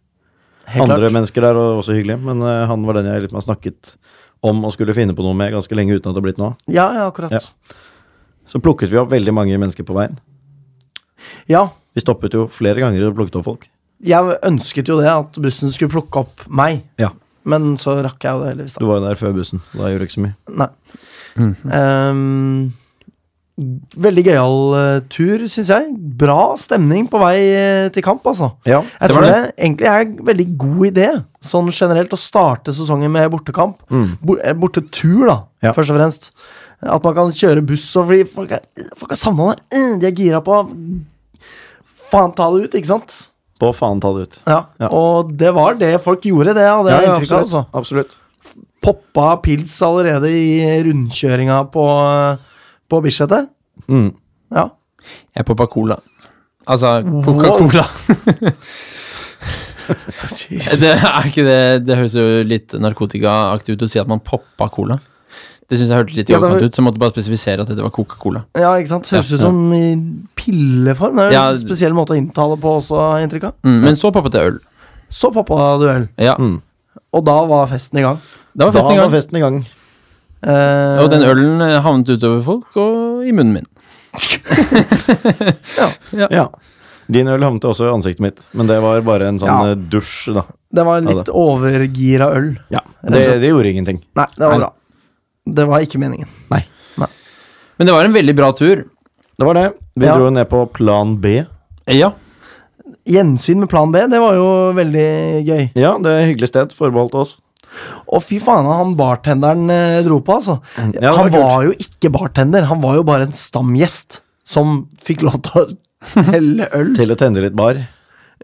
Speaker 2: Helt
Speaker 3: Andre
Speaker 2: klart.
Speaker 3: mennesker der var også hyggelige, men eh, han var den jeg liksom har snakket om og skulle finne på noe med ganske lenge uten at det har blitt noe av.
Speaker 2: Ja, ja, akkurat.
Speaker 3: Ja. Så plukket vi opp veldig mange mennesker på veien.
Speaker 2: ja.
Speaker 3: Vi stoppet jo flere ganger og plukket opp folk.
Speaker 2: Jeg ønsket jo det, at bussen skulle plukke opp meg.
Speaker 3: Ja.
Speaker 2: Men så rakk jeg jo det heldigvis,
Speaker 3: Du
Speaker 2: da.
Speaker 3: var jo der før bussen, så da gjorde det ikke så mye.
Speaker 2: Nei. Ehm, Veldig gøyal eh, tur, syns jeg. Bra stemning på vei eh, til kamp, altså.
Speaker 3: Ja.
Speaker 2: Jeg
Speaker 1: Det var
Speaker 2: tror det egentlig er en veldig god idé, sånn generelt, å starte sesongen med bortekamp. Bo- eh, Bortetur, da,
Speaker 3: Ja.
Speaker 2: først og fremst. At man kan kjøre buss og fly. Folk er- folk har savna det. Eh, De er gira på Faen, ta det ut, ikke sant?
Speaker 3: På faen ta det ut.
Speaker 2: Ja.
Speaker 3: Ja.
Speaker 2: Og det var det folk gjorde, det hadde jeg inntrykk av.
Speaker 3: absolutt.
Speaker 2: Altså.
Speaker 3: absolutt.
Speaker 2: Poppa pils allerede i rundkjøringa på, på Bislett der.
Speaker 3: Mm.
Speaker 2: Ja.
Speaker 1: Jeg poppa cola. Altså Coca-Cola. det er ikke det Det høres jo litt narkotikaaktig ut å si at man poppa cola. Det syns jeg hørtes litt i
Speaker 2: Ja, det var-
Speaker 1: overkant ut, så jeg måtte bare spesifisere at dette var Coca-Cola.
Speaker 2: ja, ikke sant? Høres
Speaker 1: Ja,
Speaker 2: ut som i pilleform. Det er jo
Speaker 1: Ja.
Speaker 2: en spesiell måte å inntale på også, har jeg inntrykk av.
Speaker 1: Mm, men så poppet jeg øl.
Speaker 2: Så poppa duell,
Speaker 1: Ja,
Speaker 3: Mm.
Speaker 2: og da var festen i gang.
Speaker 1: Da var
Speaker 3: Da
Speaker 1: festen i
Speaker 3: var
Speaker 1: gang.
Speaker 3: festen i gang.
Speaker 2: Eh,
Speaker 1: Og den ølen eh, havnet utover folk og i munnen min.
Speaker 3: Ja. Din øl havnet også i ansiktet mitt, men det var bare en sånn
Speaker 2: Ja.
Speaker 3: eh, dusj, da.
Speaker 2: Det var en
Speaker 3: Ja,
Speaker 2: litt overgira øl.
Speaker 3: Ja,
Speaker 2: Rett og
Speaker 3: det,
Speaker 2: slett.
Speaker 3: det gjorde ingenting.
Speaker 2: Nei, det var
Speaker 3: Nei.
Speaker 2: bra. Det var ikke meningen.
Speaker 1: Men det var en veldig bra tur.
Speaker 3: Det var det. Vi
Speaker 2: Ja.
Speaker 3: dro ned på plan B.
Speaker 1: Ja.
Speaker 2: Gjensyn med plan B, det var jo veldig gøy.
Speaker 3: Ja, det er et hyggelig sted forbeholdt oss.
Speaker 2: Og fy faen, han bartenderen eh, dro på, altså.
Speaker 3: Mm, det var
Speaker 2: han
Speaker 3: kult.
Speaker 2: var jo ikke bartender, han var jo bare en stamgjest som fikk lov til å helle øl.
Speaker 3: Til å tenne litt bar.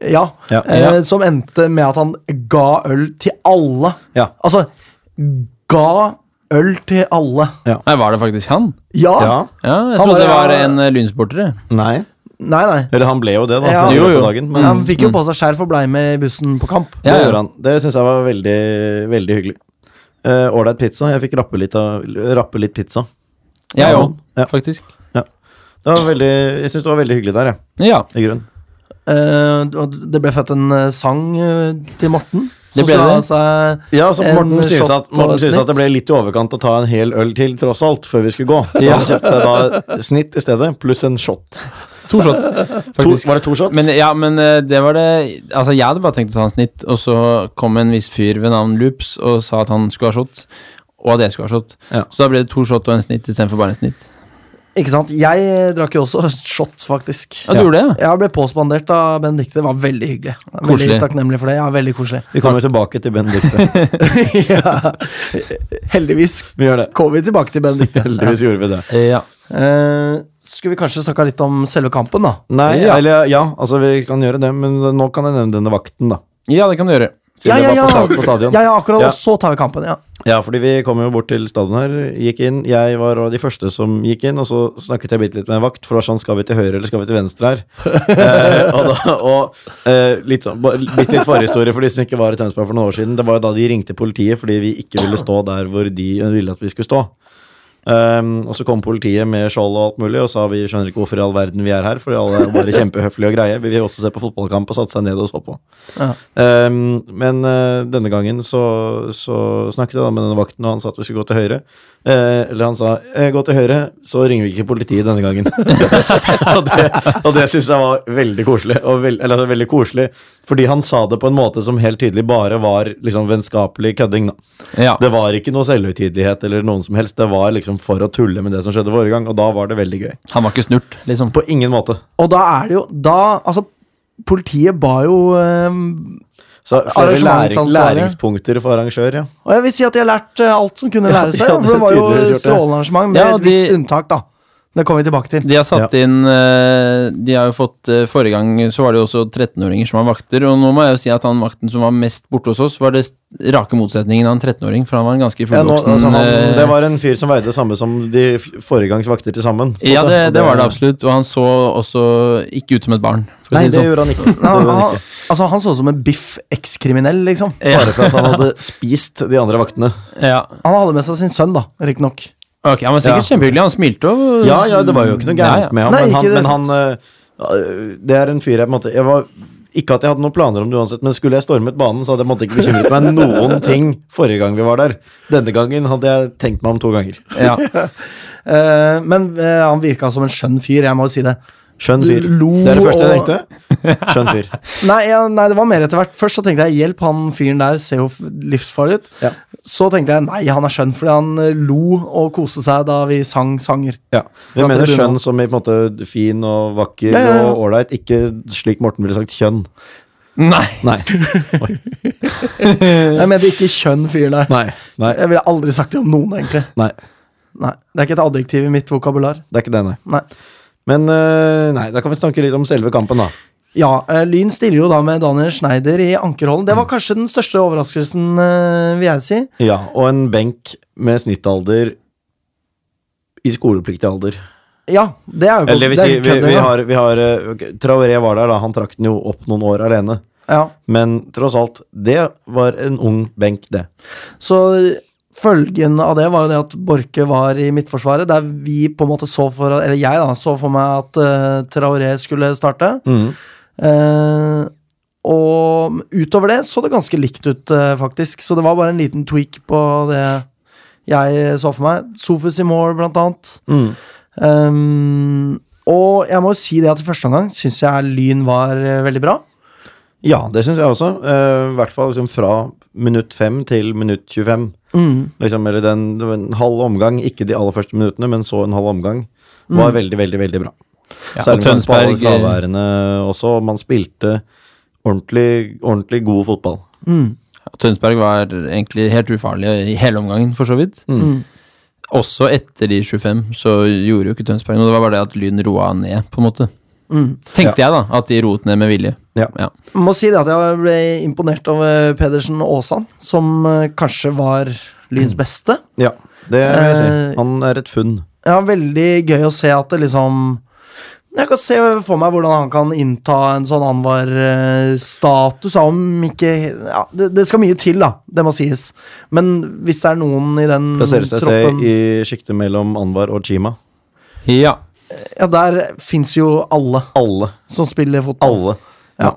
Speaker 2: Ja,
Speaker 3: Ja.
Speaker 2: eh, Som endte med at han ga øl til alle.
Speaker 3: Ja.
Speaker 2: Altså, ga øl til alle.
Speaker 1: Nei, var det faktisk han?
Speaker 2: Ja!
Speaker 3: Ja.
Speaker 1: Ja, jeg
Speaker 2: Han
Speaker 1: trodde
Speaker 2: var-
Speaker 1: det var en eh, lynsportere.
Speaker 3: Nei.
Speaker 2: Nei, nei.
Speaker 3: Eller han ble jo det, da.
Speaker 2: Ja.
Speaker 3: senere
Speaker 1: Jo, jo.
Speaker 3: på dagen, men
Speaker 2: Men han fikk jo på seg skjerf og blei med i bussen på kamp.
Speaker 1: Ja,
Speaker 3: det
Speaker 1: ja.
Speaker 3: gjorde han. Det syns jeg var veldig, veldig hyggelig. Eh, Ålreit pizza. Jeg fikk rappe litt, av, rappe litt pizza.
Speaker 1: Jeg òg,
Speaker 3: Ja.
Speaker 1: faktisk.
Speaker 3: Det var veldig, jeg syns det var veldig hyggelig der, jeg.
Speaker 1: Ja,
Speaker 3: I grunnen.
Speaker 2: Eh, og det ble født en eh, sang eh, til Morten. som
Speaker 1: Det ble
Speaker 2: skal ha
Speaker 1: det.
Speaker 2: seg-
Speaker 3: Ja, så
Speaker 2: En
Speaker 3: Morten synes,
Speaker 2: shot
Speaker 3: at, Morten
Speaker 2: og
Speaker 3: synes
Speaker 2: snitt.
Speaker 3: at det ble litt i overkant å ta en hel øl til, tross alt, før vi skulle gå. Så han kjøpte seg da snitt i stedet, pluss en shot.
Speaker 1: to shot,
Speaker 3: To,
Speaker 1: faktisk.
Speaker 3: var det to shots?
Speaker 1: Men, ja, men eh, det var det Altså, jeg hadde bare tenkt å ta en snitt, og så kom en viss fyr ved navn Loops og sa at han skulle ha shot, og at jeg skulle ha shot.
Speaker 3: Ja.
Speaker 1: Så da ble det to shot og en snitt istedenfor bare en snitt.
Speaker 2: Ikke sant? Jeg eh, drakk jo også shot, faktisk.
Speaker 1: Ja, du gjorde det?
Speaker 2: Jeg ble påspandert av Benedicte. Det var veldig hyggelig. Veldig
Speaker 1: Koselig.
Speaker 2: takknemlig for det. Ja, veldig koselig.
Speaker 3: vi kommer tilbake til Benedicte.
Speaker 2: ja. Heldigvis
Speaker 3: Vi gjør det.
Speaker 2: kom vi tilbake til Benedicte.
Speaker 3: Heldigvis gjorde vi det.
Speaker 1: Ja.
Speaker 2: Eh, skulle vi kanskje snakka litt om selve kampen, da?
Speaker 3: Nei,
Speaker 1: Ja.
Speaker 3: eller ja, altså vi kan gjøre det, men nå kan jeg nevne denne vakten, da.
Speaker 1: ja, det kan du gjøre.
Speaker 2: Ja,
Speaker 3: Siden jeg
Speaker 2: ja,
Speaker 3: var
Speaker 2: ja.
Speaker 3: På, sta- på stadion.
Speaker 2: Ja, ja, akkurat.
Speaker 3: Ja.
Speaker 2: Og så tar vi kampen, ja.
Speaker 3: Ja, fordi vi kom jo bort til stadion her, gikk inn. Jeg var av de første som gikk inn, og så snakket jeg bitte litt med en vakt, for det var sånn, skal vi til høyre eller skal vi til venstre her? eh, og da, og eh, litt, sånn, ba- bitte litt forhistorie for de som ikke var i Tønsberg for noen år siden. Det var jo da de ringte politiet fordi vi ikke ville stå der hvor de ville at vi skulle stå. Ehm, og så kom politiet med skjold og alt mulig og sa vi skjønner ikke hvorfor i all verden vi er her, for alle er bare kjempehøflige og greie. Vi vil også se på fotballkamp og satte seg ned og så på.
Speaker 2: Ja.
Speaker 3: Ehm, men eh, denne gangen så, så snakket jeg da med denne vakten, og han sa at vi skulle gå til høyre. Eh, eller han sa eh, 'gå til høyre, så ringer vi ikke politiet denne gangen'. og det, og det syns jeg var veldig koselig. Og veld, eller, altså, veldig koselig Fordi han sa det på en måte som helt tydelig bare var liksom vennskapelig kødding. da
Speaker 1: Ja.
Speaker 3: det var ikke noe selvhøytidelighet eller noen som helst. Det var liksom for å tulle med det som skjedde forrige gang, og da var det veldig gøy.
Speaker 1: Han var ikke snurt, liksom.
Speaker 3: På ingen måte.
Speaker 2: Og da er det jo Da, altså Politiet ba jo eh,
Speaker 3: Så flere læring,
Speaker 2: Arrangementsansvarlig.
Speaker 3: læringspunkter for arrangør, ja.
Speaker 2: Og jeg vil si at jeg har lært eh, alt som kunne
Speaker 3: Ja,
Speaker 2: læres
Speaker 3: de
Speaker 2: der.
Speaker 3: hadde
Speaker 2: For det var jo
Speaker 3: tydeligvis gjort det.
Speaker 2: strålende arrangement, med
Speaker 1: Ja,
Speaker 2: et visst
Speaker 1: de-
Speaker 2: unntak, da. Det kommer vi tilbake til.
Speaker 1: De har satt inn eh, De har jo fått eh, Forrige gang så var det jo også 13-åringer som var vakter, og nå må jeg jo si at han vakten som var mest borte hos oss, var det rake motsetningen av en 13-åring, for han var en ganske
Speaker 3: Ja, nå,
Speaker 1: fullvoksen
Speaker 3: altså, han,
Speaker 1: eh,
Speaker 3: det var en fyr som veide det samme som de f- forrige gangs vakter til sammen. på en
Speaker 1: Ja,
Speaker 3: måte.
Speaker 1: det,
Speaker 3: Og
Speaker 1: det var det absolutt. Og han så også ikke ut som et barn. For å
Speaker 3: Nei,
Speaker 1: si det
Speaker 3: det
Speaker 1: sånn.
Speaker 3: gjorde han ikke. Det
Speaker 2: Nei, han,
Speaker 3: gjorde han
Speaker 2: han,
Speaker 3: ikke.
Speaker 2: altså, han så ut som en biff ekskriminell, liksom.
Speaker 3: Bare for at han hadde spist de andre vaktene.
Speaker 1: Ja.
Speaker 2: Han hadde med seg sin sønn, da, riktignok.
Speaker 1: Ok, Han var sikkert
Speaker 3: Ja.
Speaker 1: kjempehyggelig. Han smilte og
Speaker 3: Ja, ja, det var jo ikke noe
Speaker 1: Ja,
Speaker 3: gærent
Speaker 1: ja.
Speaker 3: med ham,
Speaker 2: Nei,
Speaker 3: men
Speaker 2: ikke
Speaker 3: han,
Speaker 2: det.
Speaker 3: men han øh, øh, Det er en fyr jeg på en måte jeg var, Ikke at jeg hadde noen planer om det uansett, men skulle jeg stormet banen, så hadde jeg på en måte ikke bekymret meg noen ting forrige gang vi var der. Denne gangen hadde jeg tenkt meg om to ganger.
Speaker 1: Ja.
Speaker 2: Eh, men eh, han virka som en skjønn fyr, jeg må jo si det.
Speaker 3: Skjønn fyr.
Speaker 2: Lo
Speaker 3: Det er det første jeg
Speaker 2: og-
Speaker 3: tenkte. Skjønn fyr.
Speaker 2: Nei, ja, nei, det var mer etter hvert. Først så tenkte jeg hjelp han fyren der, ser jo f- livsfarlig ut.
Speaker 3: Ja.
Speaker 2: Så tenkte jeg nei, han er skjønn, fordi han eh, lo og koste seg da vi sang sanger.
Speaker 3: Ja.
Speaker 2: at
Speaker 3: Jeg mener
Speaker 2: det blir
Speaker 3: skjønn
Speaker 2: noe.
Speaker 3: som i på en måte fin og vakker
Speaker 2: Ja, ja, ja.
Speaker 3: og ålreit, ikke slik Morten ville sagt kjønn.
Speaker 1: Nei.
Speaker 3: Nei. Eh.
Speaker 2: Jeg mente ikke kjønn fyren der.
Speaker 3: Nei. Nei.
Speaker 2: Jeg ville aldri sagt det om noen, egentlig.
Speaker 3: Nei.
Speaker 2: Nei, Det er ikke et adjektiv i mitt vokabular.
Speaker 3: Det er ikke det, nei.
Speaker 2: Nei.
Speaker 3: Men eh, nei, da kan vi snakke litt om selve kampen, da.
Speaker 2: Ja, eh, Lyn stiller jo da med Daniel Schneider i Ankerholden. Det var
Speaker 3: Mm.
Speaker 2: kanskje den største overraskelsen, eh, vil jeg si.
Speaker 3: Ja, og en benk med snittalder i skolepliktig alder.
Speaker 2: Ja, det er jo ikke-
Speaker 3: Eller det vil
Speaker 2: det er
Speaker 3: si,
Speaker 2: ikke
Speaker 3: vi,
Speaker 2: kødd
Speaker 3: vi
Speaker 2: engang.
Speaker 3: har, vi har eh, ok, Traoré var der, da. Han trakk den jo opp noen år alene.
Speaker 2: ja.
Speaker 3: Men tross alt, det var en ung benk, det.
Speaker 2: Så følgen av det var jo det at Borke var i midtforsvaret, der vi på en måte så for Eller jeg da, så for meg at eh, Traoré skulle starte.
Speaker 3: Mm.
Speaker 2: Eh, og utover det så det ganske likt ut, eh, faktisk. Så det var bare en liten tweak på det jeg så for meg. Sofus i mål, blant annet.
Speaker 3: Mm.
Speaker 2: Ehm, og jeg må jo si det at i første omgang syns jeg Lyn var eh, veldig bra.
Speaker 3: Ja, det syns jeg også. Eh, I hvert fall liksom fra minutt 5 til minutt 25.
Speaker 1: Mm.
Speaker 3: Liksom, eller den, det var en halv omgang, ikke de aller første minuttene, men så en halv omgang. Var veldig, veldig, veldig bra.
Speaker 1: Mm. Ja, og
Speaker 3: Særlig med
Speaker 1: Tønsberg, eh,
Speaker 3: Tønsberg fraværende også. Man spilte ordentlig, ordentlig god fotball.
Speaker 1: Ja, Tønsberg var egentlig helt ufarlig i hele omgangen, for så vidt.
Speaker 3: Mm.
Speaker 1: Også etter de 25 så gjorde jo ikke Tønsberg noe. Det var bare det at Lyn roa ned, på en måte.
Speaker 2: Mm.
Speaker 1: Tenkte jeg, da. At de roet ned med vilje.
Speaker 3: Ja.
Speaker 1: Ja.
Speaker 2: Må si det at jeg ble imponert over Pedersen og Aasan, som eh, kanskje var Lyns beste.
Speaker 3: Ja, det vil jeg si.
Speaker 2: Eh,
Speaker 3: Han er et funn.
Speaker 2: Ja, veldig gøy å se at det liksom Jeg kan se for meg hvordan han kan innta en sånn Anwar-status, om ikke ja, det, det skal mye til, da. Det må sies. Men hvis det er noen i den
Speaker 3: Plasserer seg
Speaker 2: troppen
Speaker 3: selv i sjiktet mellom Anwar og Chima.
Speaker 1: ja.
Speaker 2: Ja, der fins jo alle
Speaker 3: Alle.
Speaker 2: som spiller fotball.
Speaker 3: Alle.
Speaker 2: Ja.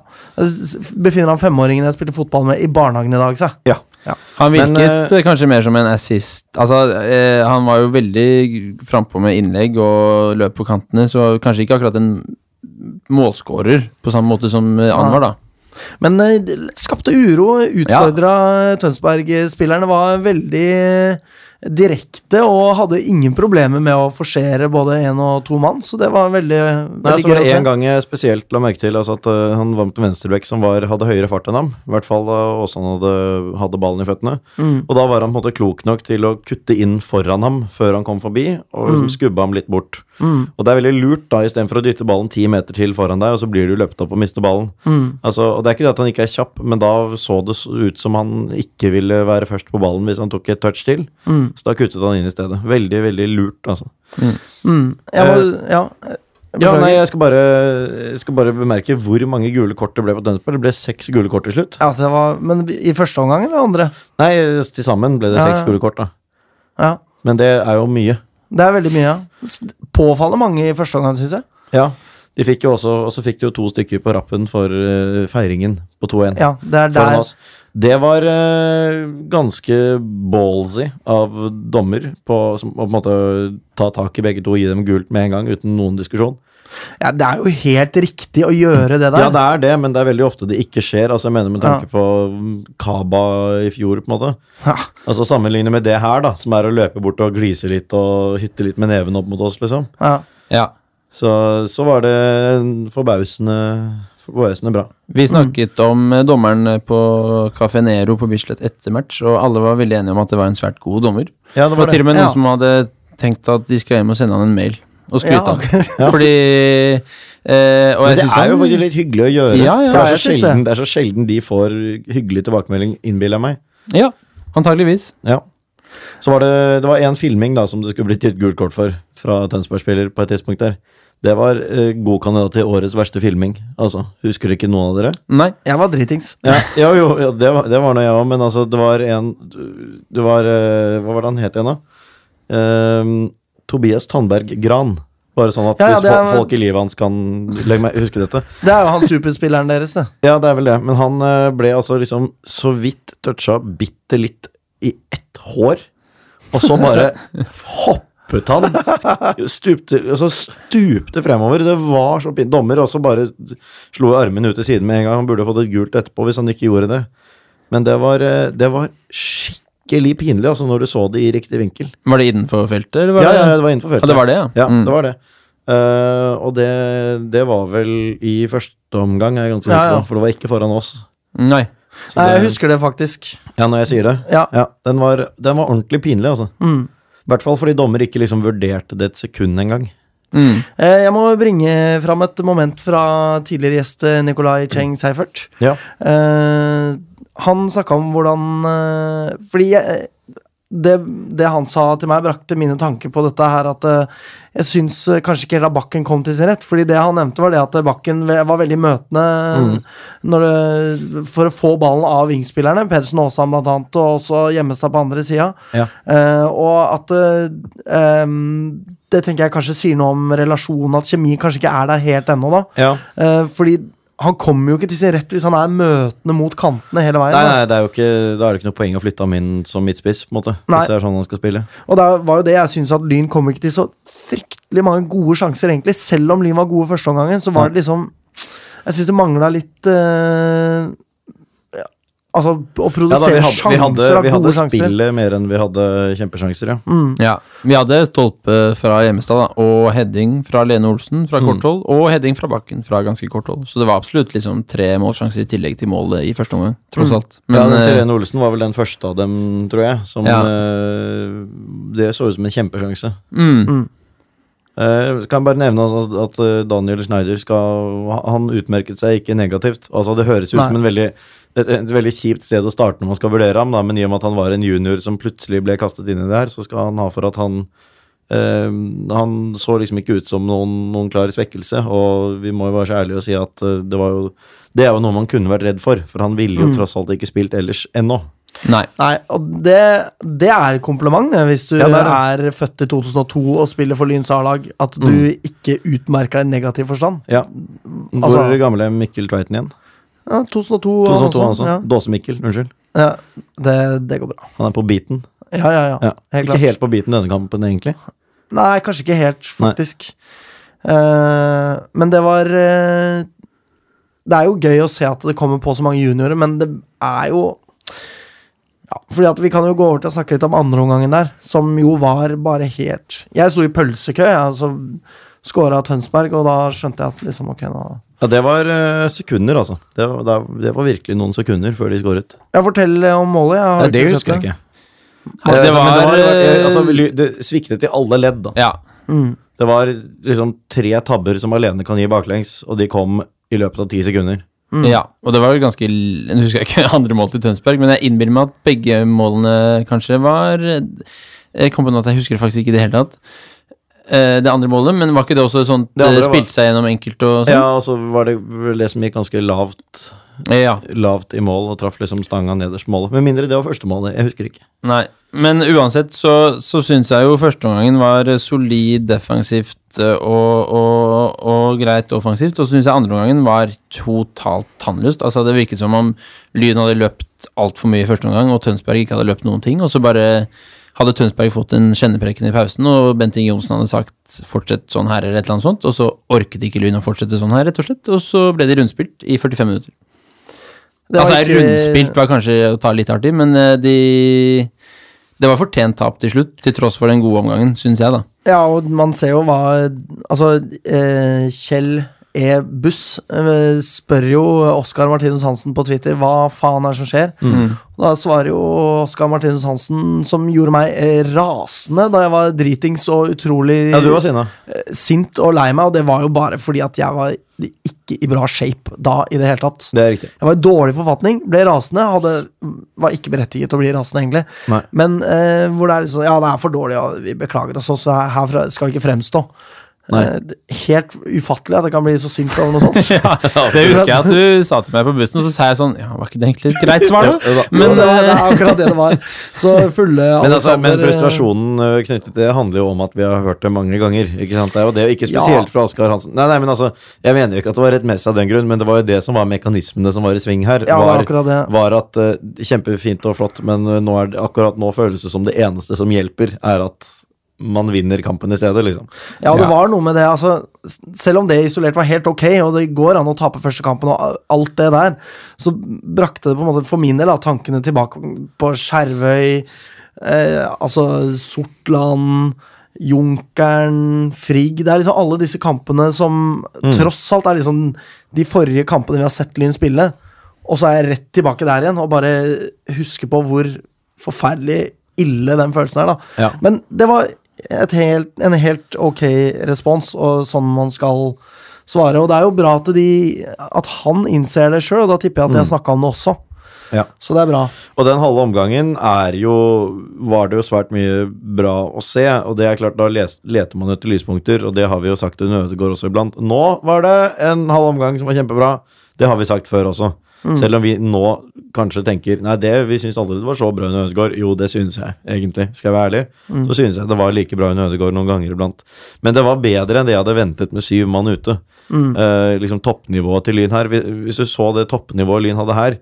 Speaker 2: S- Befinner han femåringen jeg spilte fotball med, i barnehagen i dag, sa jeg.
Speaker 3: Ja.
Speaker 1: Han
Speaker 3: Men,
Speaker 1: virket eh, kanskje mer som en assist. Altså, eh, han var jo veldig frampå med innlegg og løp på kantene, så kanskje ikke akkurat en målskårer på samme måte som eh, Anwar, da.
Speaker 2: Men eh, det skapte uro, utfordra Tønsberg-spillerne. Var veldig eh, direkte og hadde ingen problemer med å forsere både én og to mann, så det var veldig,
Speaker 3: Nei,
Speaker 2: veldig
Speaker 3: så var
Speaker 2: gøy å
Speaker 3: det
Speaker 2: se.
Speaker 3: en gang jeg spesielt la merke til altså at eh, han var med til venstreback som var, hadde høyere fart enn ham. I hvert fall da Åsan hadde, hadde ballen i føttene. Og da var han på en måte klok nok til å kutte inn foran ham før han kom forbi, og liksom skubbe ham litt bort. Og det er veldig lurt da, istedenfor å dytte ballen ti meter til foran deg, og så blir du løpt opp og mister ballen.
Speaker 2: Mm.
Speaker 3: Altså, og det er ikke det at han ikke er kjapp, men da så det s- ut som han ikke ville være først på ballen hvis han tok et touch til. Så da kuttet han inn i stedet. Veldig, veldig lurt, altså.
Speaker 2: Jeg må, Mm. ja, jeg
Speaker 3: Ja,
Speaker 2: beklager.
Speaker 3: nei, jeg skal bare, jeg skal bare bemerke hvor mange gule kort det ble på Tønsberg. Det ble seks gule kort til slutt.
Speaker 2: ja, det var, Men i første omgang eller andre?
Speaker 3: Nei, til sammen ble det
Speaker 2: Ja,
Speaker 3: seks
Speaker 2: ja.
Speaker 3: gule kort, da.
Speaker 2: Ja.
Speaker 3: Men det er jo mye.
Speaker 2: Det er veldig mye, ja. S- Påfallende mange i første omgang, syns jeg.
Speaker 3: Ja. De fikk jo også, og så fikk de jo to stykker på rappen for eh, feiringen på 2-1.
Speaker 2: Ja, det er
Speaker 3: foran
Speaker 2: der.
Speaker 3: oss. Det var eh, ganske ballsy av dommer på, som, å på en måte ta tak i begge to og gi dem gult med en gang uten noen diskusjon.
Speaker 2: Ja, det er jo helt riktig å gjøre det der.
Speaker 3: Ja, det er det, men det er veldig ofte det ikke skjer. Altså, jeg mener med tanke
Speaker 2: Ja.
Speaker 3: på mm, Kaba i fjor, på en måte.
Speaker 2: Ja.
Speaker 3: Altså Sammenligne med det her, da, som er å løpe bort og glise litt og hytte litt med neven opp mot oss, liksom.
Speaker 2: Ja.
Speaker 1: Ja.
Speaker 3: Så, så var det en forbausende, forbausende bra.
Speaker 1: Vi snakket om eh, dommeren på Café Nero på Bislett etter match, og alle var veldig enige om at det var en svært god dommer.
Speaker 3: Ja,
Speaker 1: Det var til og med noen
Speaker 2: Ja.
Speaker 1: som hadde tenkt at de skal hjem og sende han en mail og skryte
Speaker 2: Ja,
Speaker 1: av han. Fordi eh, Og
Speaker 3: Men
Speaker 1: jeg
Speaker 3: det
Speaker 1: synes
Speaker 3: er jo
Speaker 1: han
Speaker 3: faktisk litt hyggelig å gjøre.
Speaker 1: Ja, ja,
Speaker 3: for det er,
Speaker 2: jeg
Speaker 3: så
Speaker 2: synes det.
Speaker 3: sjelden, det. er så sjelden de får hyggelig tilbakemelding, innbiller jeg meg.
Speaker 1: Ja, antageligvis.
Speaker 3: Ja. Så var det, det var en filming da som det skulle blitt gitt gult kort for fra Tønsberg-spiller på et tidspunkt der. Det var eh, god kandidat til årets verste filming. Altså, Husker ikke noen av dere?
Speaker 1: Nei.
Speaker 2: Jeg var dritings.
Speaker 3: Ja, jo, jo, ja, det, var, det var noe jeg òg, men altså, det var en Det var eh, Hva var det han het igjen, da? Ehm, Tobias Tandberg Gran. Bare sånn at
Speaker 2: Ja, ja,
Speaker 3: hvis
Speaker 2: det er-
Speaker 3: fol- folk i livet hans kan legge meg, huske dette.
Speaker 2: Det er jo han superspilleren deres, det.
Speaker 3: Ja, det er vel det, men han eh, ble altså liksom så vidt toucha bitte litt i ett hår, og så bare hopper hoppet han. Stupte, altså stupte fremover. Det var så pinlig. Dommer også bare slo armen ut til siden med en gang. Han burde fått et gult etterpå hvis han ikke gjorde det. Men det var, eh, det var skikkelig pinlig altså når du så det i riktig vinkel.
Speaker 1: Var det innenfor feltet, eller var
Speaker 3: Ja, ja,
Speaker 1: det
Speaker 3: ja, det var innenfor feltet.
Speaker 1: Ja, det var det, ja.
Speaker 3: Ja,
Speaker 1: Mm.
Speaker 3: det var det. Eh, og det, det var vel i første omgang, er jeg ganske
Speaker 2: Ja,
Speaker 3: sikker
Speaker 2: ja.
Speaker 3: på, for det var ikke foran oss.
Speaker 1: Nei.
Speaker 3: Så
Speaker 2: Nei, jeg
Speaker 3: det-
Speaker 2: husker det faktisk.
Speaker 3: Ja, når jeg sier det.
Speaker 2: Ja.
Speaker 3: den, var, den var ordentlig pinlig, altså.
Speaker 2: Mm.
Speaker 3: I hvert fall fordi dommer ikke liksom vurderte det et sekund engang.
Speaker 1: Mm.
Speaker 2: Eh, Jeg må bringe fram et moment fra tidligere gjest eh, Nicolai Cheng Seifert.
Speaker 3: Ja.
Speaker 2: Eh, han snakka om hvordan eh, Fordi jeg, det, det han sa til meg, brakte mine tanker på dette her at eh, jeg syns eh, kanskje ikke helt at Bakken kom til sin rett. Fordi det han nevnte, var det at eh, Bakken ve- var veldig møtende når det, for å få ballen av vingspillerne. Pedersen og Aasand blant annet, og også Gjemmestad på andre sida.
Speaker 3: Ja.
Speaker 2: Eh, og at eh, em, Det tenker jeg kanskje sier noe om relasjonen, at kjemi kanskje ikke er der helt ennå, da.
Speaker 3: Ja.
Speaker 2: Eh, fordi han kommer jo ikke til sin rett hvis han er møtende mot kantene hele veien.
Speaker 3: Nei,
Speaker 2: da.
Speaker 3: nei, det er jo ikke, da er det ikke noe poeng å flytte ham inn som midtspiss, på en måte.
Speaker 2: Nei.
Speaker 3: Hvis det er sånn han skal spille.
Speaker 2: Og det var jo det jeg syns at Lyn kom ikke til så fryktelig mange gode sjanser, egentlig. Selv om Lyn var gode første omgangen, så var det liksom Jeg syns det mangla litt eh, ja, Altså, å
Speaker 3: Ja, da,
Speaker 2: produsere
Speaker 3: vi hadde, vi hadde,
Speaker 2: sjanser av gode
Speaker 3: vi hadde
Speaker 2: sjanser. Mm.
Speaker 3: spillet mer enn vi hadde kjempesjanser, ja.
Speaker 1: Ja. Vi hadde stolpe fra Gjemmestad, da, og heading fra Lene Olsen fra
Speaker 3: Mm.
Speaker 1: kort hold, og heading fra Bakken fra ganske kort hold. Så det var absolutt liksom tre målsjanser i tillegg til målet i første omgang, tross alt.
Speaker 3: Mm. ja,
Speaker 1: Men
Speaker 3: den til
Speaker 1: eh,
Speaker 3: Lene Olsen var vel den første av dem, tror jeg. Som
Speaker 1: Ja.
Speaker 3: eh, Det så ut som en kjempesjanse.
Speaker 1: mm,
Speaker 3: Eh, Skal jeg bare nevne altså, at eh, Daniel Schneider skal Han utmerket seg ikke negativt. Altså Det høres ut som
Speaker 2: Nei.
Speaker 3: en veldig, et, et veldig kjipt sted å starte når man skal vurdere ham, da, men i og med at han var en junior som plutselig ble kastet inn i det her, så skal han ha for at han eh, Han så liksom ikke ut som noen, noen klar svekkelse, og vi må jo være så ærlige og si at eh, det var jo Det er jo noe man kunne vært redd for, for han ville jo
Speaker 2: Mm.
Speaker 3: tross alt ikke spilt ellers ennå.
Speaker 1: nei.
Speaker 2: Nei, og det, det er et kompliment det, hvis du
Speaker 3: Ja, det Mm. er
Speaker 2: er, født i 2002 og spiller for Lyns A-lag, at du ikke utmerker deg i negativ forstand.
Speaker 3: Ja. Hvor
Speaker 2: Altså-
Speaker 3: gamle er Mikkel Tveiten igjen?
Speaker 2: Ja, 2002,
Speaker 3: 2002,
Speaker 2: han
Speaker 3: altså.
Speaker 2: også.
Speaker 3: Dåse-Mikkel,
Speaker 2: sånn,
Speaker 3: unnskyld.
Speaker 2: Ja. Ja, det, det går bra.
Speaker 3: Han er på beaten.
Speaker 2: Ja, ja, ja.
Speaker 3: Ja.
Speaker 2: Helt
Speaker 3: ikke
Speaker 2: klart.
Speaker 3: helt på biten denne kampen, egentlig.
Speaker 2: Nei, kanskje ikke helt, faktisk. Eh, men det var eh, Det er jo gøy å se at det kommer på så mange juniorer, men det er jo ja, fordi at Vi kan jo gå over til å snakke litt om andreomgangen der, som jo var bare helt Jeg sto i pølsekø, jeg, og så skåra Tønsberg, og da skjønte jeg at liksom, ok, nå
Speaker 3: Ja, Det var eh, sekunder, altså. Det var, det- det var virkelig noen sekunder før de skåret.
Speaker 2: Ja, fortell om målet. Jeg har
Speaker 3: Nei, det
Speaker 2: ikke
Speaker 3: husker
Speaker 2: sett
Speaker 3: jeg ikke.
Speaker 1: Ja,
Speaker 3: Eh,
Speaker 1: det
Speaker 3: altså, men
Speaker 1: var,
Speaker 3: eh,
Speaker 1: eh,
Speaker 3: altså, ly- det sviktet i alle ledd, da.
Speaker 1: Ja.
Speaker 3: Det var liksom tre tabber som alene kan gi baklengs, og de kom i løpet av ti sekunder.
Speaker 1: Ja, og det var jo ganske l- Nå husker jeg ikke andre mål til Tønsberg, men jeg innbiller meg at begge målene kanskje var Jeg kom på noe at jeg husker det faktisk ikke i det hele tatt. Eh, Det andre målet, men var ikke det også sånt
Speaker 3: Det andre
Speaker 1: eh,
Speaker 3: var-
Speaker 1: spilte seg gjennom enkelt og sånn?
Speaker 3: Ja, og så var det vel det som gikk ganske lavt,
Speaker 1: Ja. sånn? ja.
Speaker 3: lavt i mål, og traff liksom stanga nederst på målet. Med mindre det var første målet. Jeg husker ikke.
Speaker 1: Nei. Men uansett så, så syns jeg jo førsteomgangen var solid defensivt eh, og, og, og greit offensivt. Og så syns jeg andreomgangen var totalt tannløst. Altså Det virket som om Lyn hadde løpt altfor mye i første omgang, og Tønsberg ikke hadde løpt noen ting. Og så bare hadde Tønsberg fått en kjennepreken i pausen, og Bent Inge Johnsen hadde sagt 'fortsett sånn her', eller et eller annet sånt. Og så orket ikke Lyn å fortsette sånn her, rett og slett. Og så ble de rundspilt i 45 minutter.
Speaker 2: Det var
Speaker 1: Altså,
Speaker 2: ikke-
Speaker 1: rundspilt var kanskje å ta litt hardt i, men eh, de Det var fortjent tap til slutt, til tross for den gode omgangen, syns jeg, da.
Speaker 2: Ja, og man ser jo hva Altså, eh, Kjell E. Buss eh, spør jo Oskar Martinus Hansen på Twitter hva faen er det som skjer.
Speaker 3: Mm.
Speaker 2: Og Da svarer jo Oskar Martinus Hansen, som gjorde meg eh, rasende da jeg var dritings og utrolig
Speaker 3: Ja, du var sinna.
Speaker 2: sint og lei meg, og det var jo bare fordi at jeg var ikke i bra shape da i det hele tatt.
Speaker 3: Det er riktig.
Speaker 2: Jeg var i dårlig forfatning, ble rasende. Hadde, var ikke berettiget til å bli rasende, egentlig.
Speaker 3: Nei.
Speaker 2: Men eh, hvor det er liksom Ja, det er for dårlig, og vi beklager oss, og så her- herfra skal vi ikke fremstå.
Speaker 3: Nei.
Speaker 2: Eh, det- helt ufattelig at jeg kan bli så sint over noe sånt.
Speaker 1: Ja, det husker jeg at du sa til meg på bussen, og så sa jeg sånn Ja, var ikke det egentlig et greit svar,
Speaker 3: Jo,
Speaker 1: da?
Speaker 3: jo da.
Speaker 2: Men
Speaker 1: Men
Speaker 2: det, var, det
Speaker 1: eh,
Speaker 2: er akkurat det det var. Så fulle
Speaker 3: Men, altså, men
Speaker 2: Alexander, eh,
Speaker 3: frustrasjonen ø, knyttet til det handler jo om at vi har hørt det mange ganger. ikke sant? Det er jo det, og ikke spesielt
Speaker 2: Ja.
Speaker 3: fra Oskar Hansen. Nei, nei, men altså, Jeg mener ikke at det var rettmessig av den grunn, men det var jo det som var mekanismene som var i sving her.
Speaker 2: Ja, det var
Speaker 3: var,
Speaker 2: akkurat det.
Speaker 3: var at eh, ø, eh, Kjempefint og flott, men ø, nå er det, akkurat nå føles det som det eneste som hjelper, er at man vinner kampen i stedet, liksom.
Speaker 2: Ja, det
Speaker 1: Ja.
Speaker 2: var noe med det. Altså, s- selv om det isolert var helt ok, og det går an å tape første kampen og a- alt det der, så brakte det på en måte for min del da, tankene tilbake på Skjervøy, eh, altså Sortland, Junkeren, Frigg Det er liksom alle disse kampene som tross alt er liksom de forrige kampene vi har sett Lyn spille, og så er jeg rett tilbake der igjen og bare huske på hvor forferdelig ille den følelsen er, da.
Speaker 3: Ja.
Speaker 2: Men det var et helt, en helt ok respons, og sånn man skal svare. Og det er jo bra at, de, at han innser det sjøl, og da tipper jeg at de har snakka om det også.
Speaker 3: Ja.
Speaker 2: Så det er bra.
Speaker 3: Og den halve omgangen er jo Var det jo svært mye bra å se, og det er klart, da les, leter man etter lyspunkter, og det har vi jo sagt under Ødegaard også iblant. Nå var det en halv omgang som var kjempebra. Det har vi sagt før også. Selv om vi nå kanskje tenker Nei, det vi syns aldri det var så bra under Ødegaard. Jo, det synes jeg, egentlig. Skal jeg være ærlig, så synes jeg det var like bra under Ødegaard noen ganger iblant. Men det var bedre enn det jeg hadde ventet med syv mann ute. Eh, liksom toppnivået til Lyn her. Hvis, hvis du så det toppnivået Lyn hadde her,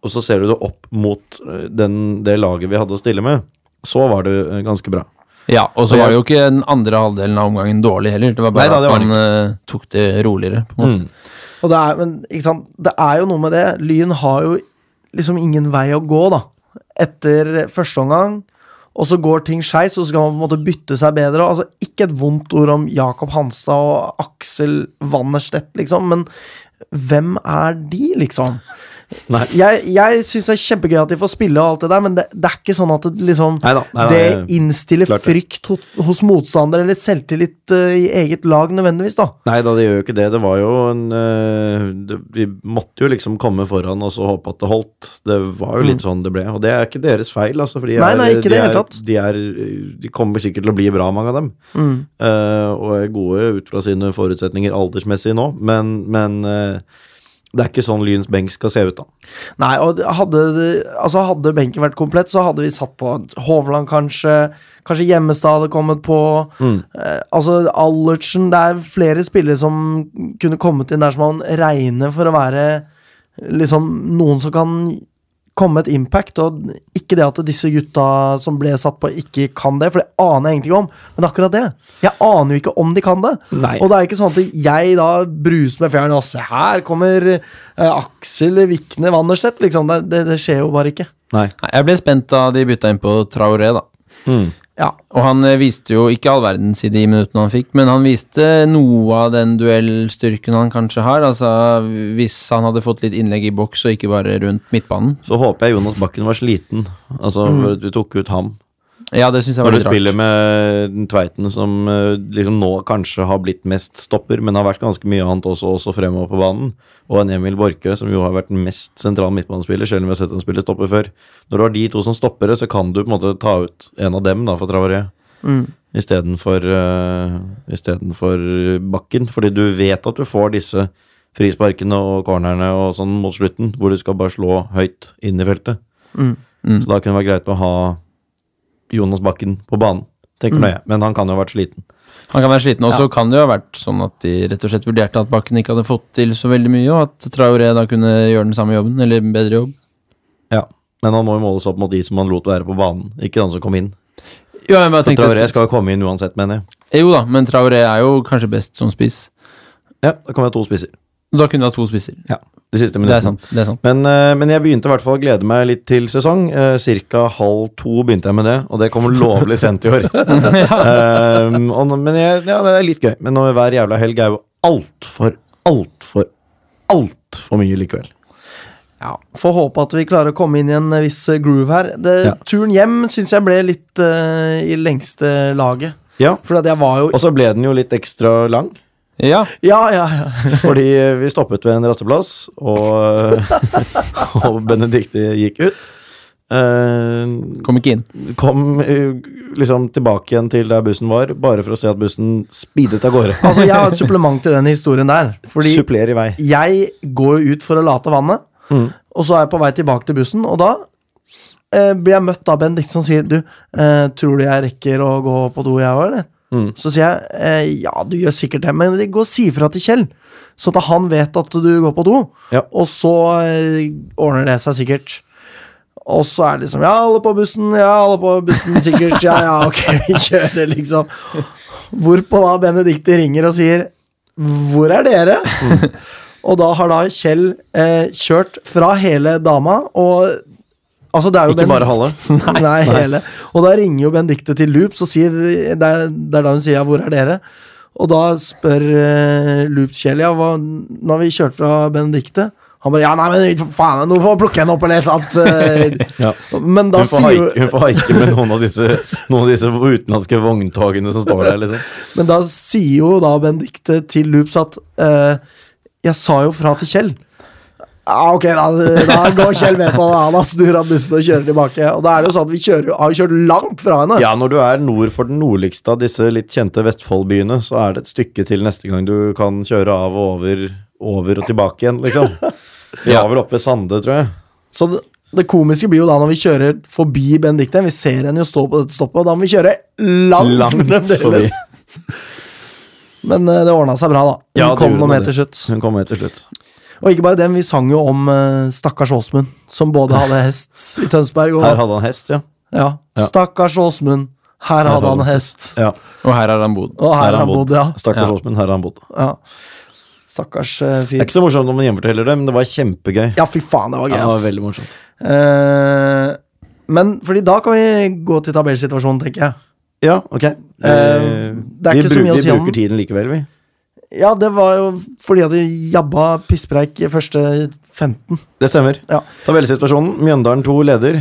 Speaker 3: og så ser du det opp mot eh, den, det laget vi hadde å stille med, så var det eh, ganske bra.
Speaker 1: Ja, og så
Speaker 3: Og jeg-
Speaker 1: var det jo ikke den andre halvdelen av omgangen dårlig heller. Det var bare
Speaker 3: Nei da, det Mm. var
Speaker 1: at man eh, tok det roligere, på en måte.
Speaker 2: Og det er, men, ikke sant? det er jo noe med det. Lyn har jo liksom ingen vei å gå, da. Etter første omgang, og så går ting skeis, og så skal man på en måte bytte seg bedre. Altså, ikke et vondt ord om Jakob Hanstad og Aksel Wannerstedt, liksom, men hvem er de, liksom?
Speaker 3: Nei.
Speaker 2: Jeg, jeg syns det er kjempegøy at de får spille og alt det der, men det, det er ikke sånn at det liksom
Speaker 3: Neida, neida, jeg-
Speaker 2: Det innstiller
Speaker 3: klart det.
Speaker 2: frykt ho- hos motstandere eller selvtillit eh, i eget lag nødvendigvis, da.
Speaker 3: Nei da, det gjør jo ikke det. Det var jo en eh, det, Vi måtte jo liksom komme foran og så håpe at det holdt. Det var jo litt sånn det ble. Og det er ikke deres feil, altså. For de,
Speaker 2: Mm. Nei,
Speaker 3: er,
Speaker 2: nei, ikke
Speaker 3: de,
Speaker 2: det i hele
Speaker 3: er,
Speaker 2: tatt.
Speaker 3: de, er, de kommer sikkert til å bli bra, mange av dem.
Speaker 2: Mm.
Speaker 3: Eh, og er gode ut fra sine forutsetninger aldersmessig nå, men, men eh, det er ikke sånn Lyns benk skal se ut, da.
Speaker 2: Nei, og det- hadde, det- altså hadde benken vært komplett, så hadde vi satt på Hovland, kanskje. Kanskje Gjemmestad hadde kommet på. Eh, altså Allertsen Det er flere spillere som kunne kommet inn der som man regner for å være liksom noen som kan komme et impact. Og ikke det at disse gutta som ble satt på, ikke kan det, for det aner jeg ingenting om. Men akkurat det. Jeg aner jo ikke om de kan det.
Speaker 3: Nei.
Speaker 2: Og det er ikke sånn at jeg da bruser med fjæren og se her kommer eh, Aksel Vikne Wannerstedt, liksom. Det, det, det skjer jo bare ikke.
Speaker 3: Nei.
Speaker 1: Nei, Jeg ble spent da de bytta inn på Traoré, da.
Speaker 2: Ja.
Speaker 1: Og han eh, viste jo ikke all verdens i de minuttene han fikk, men han viste noe av den duellstyrken han kanskje har. Altså, hvis han hadde fått litt innlegg i boks og ikke bare rundt midtbanen.
Speaker 3: Så håper jeg Jonas Bakken var sliten. Altså, du tok ut ham.
Speaker 1: Ja, det syns jeg var
Speaker 3: Når du
Speaker 1: litt
Speaker 3: spiller
Speaker 1: rart.
Speaker 3: med den Tveiten, som eh, liksom nå kanskje har blitt mest stopper, men har vært ganske mye annet også, også fremover på banen, og en Emil Borke, som jo har vært den mest sentral midtbanespiller, selv om vi har sett han spille stopper før. Når du har de to som stoppere, så kan du på en måte ta ut en av dem da, for Travaré. Istedenfor eh, istedenfor Bakken, fordi du vet at du får disse frisparkene og cornerne og sånn mot slutten, hvor du skal bare slå høyt inn i feltet. Så da kunne det vært greit å ha Jonas Bakken på banen, tenker nå jeg. Men han kan jo ha vært sliten.
Speaker 1: Han kan være sliten. Og så kan det jo ha vært sånn at de rett og slett vurderte at Bakken ikke hadde fått til så veldig mye, og at Traoré da kunne gjøre den samme jobben, eller en bedre jobb.
Speaker 3: Ja. Men han må jo måles opp mot de som han lot være på banen, ikke han som kom inn.
Speaker 1: Jo, jeg bare
Speaker 3: For
Speaker 1: tenkte
Speaker 3: Traoré
Speaker 1: at,
Speaker 3: skal jo komme inn uansett, mener jeg.
Speaker 1: jo da, men Traoré er jo kanskje best som spiss.
Speaker 3: Ja, da kan vi ha to spisser.
Speaker 1: Da kunne du ha to spisser.
Speaker 3: Ja. De siste
Speaker 1: Det
Speaker 3: minuttene.
Speaker 1: er sant. det er sant.
Speaker 3: Men, eh, men jeg begynte i hvert fall å glede meg litt til sesong. Eh, cirka halv to begynte jeg med det, og det kommer lovlig sent i år. Ehm, og, nå- men jeg, ja, det er litt gøy. Men nå, hver jævla helg er jo altfor, altfor, altfor mye likevel.
Speaker 2: ja. Får håpe at vi klarer å komme inn i en viss groove her. Det,
Speaker 3: Ja.
Speaker 2: Turen hjem syns jeg ble litt eh, i lengste laget.
Speaker 3: Ja.
Speaker 2: For at jeg var jo
Speaker 3: Og så ble den jo litt ekstra lang.
Speaker 1: Ja,
Speaker 2: Ja, ja, ja.
Speaker 3: Fordi eh, vi stoppet ved en rasteplass, og, eh, og Benedicte gikk ut. Eh,
Speaker 1: kom ikke inn.
Speaker 3: kom eh, liksom tilbake igjen til der bussen var, bare for å se at bussen speedet av gårde.
Speaker 2: Altså, jeg har et supplement til den historien der. Fordi
Speaker 3: Suppler i vei. Mm.
Speaker 2: jeg går jo ut for å late vannet, og så er jeg på vei tilbake til bussen, og da eh, blir jeg møtt av Benedikt som sier Du, eh, tror du jeg rekker å gå på do, jeg òg, eller? Så sier jeg eh, ja, du gjør sikkert det, men gå og si ifra til Kjell, sånn at han vet at du går på do,
Speaker 3: Ja.
Speaker 2: og så eh, ordner det seg sikkert. Og så er det liksom Ja, alle på bussen, ja, alle på bussen, sikkert. Ja, ja, ok, vi kjører, liksom. Hvorpå da Benedicte ringer og sier Hvor er dere? Og da har da Kjell eh, kjørt fra hele dama, og Altså, det er jo
Speaker 3: Ikke
Speaker 2: den-
Speaker 3: bare halve.
Speaker 2: Nei, hele. Og da ringer jo Benedicte til Loops og sier Det er, det er da hun sier ja, 'hvor er dere?' Og da spør eh, Loops Kjell ja, hva, nå har vi kjørt fra Benedicte. Han bare 'ja, nei, men for faen, nå får jeg plukke henne opp', eller et eller annet.
Speaker 3: Ja.
Speaker 2: eh. Men da
Speaker 3: Hun får
Speaker 2: sier jo
Speaker 3: haike- hun får haike med noen av disse, noen av disse utenlandske vogntogene som står der, liksom.
Speaker 2: Men da sier jo da Benedicte til Loops at eh, Jeg sa jo fra til Kjell. Ja, ok, da, da går Kjell med på det. Han har snur av bussen og kjører tilbake. Og da er det jo sånn at vi kjører, jo- har jo kjørt langt fra henne.
Speaker 3: Ja, når du er nord for den nordligste av disse litt kjente Vestfoldbyene, så er det et stykke til neste gang du kan kjøre av og over, over og tilbake igjen, liksom. Vi
Speaker 1: Ja.
Speaker 3: var vel oppe ved Sande, tror jeg.
Speaker 2: Så det, det komiske blir jo da når vi kjører forbi Benedicte. Vi ser henne jo stå på dette stoppet, og da må vi kjøre langt,
Speaker 3: Langt
Speaker 2: fremdeles.
Speaker 3: forbi.
Speaker 2: Men eh, det ordna seg bra, da. Hun
Speaker 3: Ja, det
Speaker 2: kom
Speaker 3: gjorde
Speaker 2: noe
Speaker 3: det.
Speaker 2: med til slutt.
Speaker 3: Hun kom med til slutt.
Speaker 2: Og ikke bare den, vi sang jo om eh, stakkars Åsmund, som både hadde hest i Tønsberg og
Speaker 3: Her hadde han hest, ja.
Speaker 2: ja,
Speaker 3: ja.
Speaker 2: Stakkars Åsmund, her hadde han hest.
Speaker 3: ja.
Speaker 1: Og her har han bodd.
Speaker 2: Og her har han bodd, ja.
Speaker 3: Stakkars
Speaker 1: Ja.
Speaker 3: Åsmund, her har han bodd. Det
Speaker 2: ja. Stakkars eh,
Speaker 3: er
Speaker 2: fyr.
Speaker 3: ikke så morsomt når man gjenforteller det, men det var kjempegøy.
Speaker 2: Ja, fy faen, det var
Speaker 3: Ja,
Speaker 2: gøy.
Speaker 3: det var
Speaker 2: ass.
Speaker 3: veldig morsomt.
Speaker 2: Eh, men fordi da kan vi gå til tabellsituasjonen, tenker jeg.
Speaker 3: Ja, ok.
Speaker 2: Eh, det Eh, er
Speaker 3: vi
Speaker 2: ikke så mye å
Speaker 3: vi
Speaker 2: si om
Speaker 3: bruker tiden likevel, vi.
Speaker 2: Ja, det var jo fordi at vi jabba pisspreik i første 15.
Speaker 3: Det stemmer.
Speaker 2: Ja.
Speaker 3: Tabellsituasjonen. Mjøndalen 2 leder.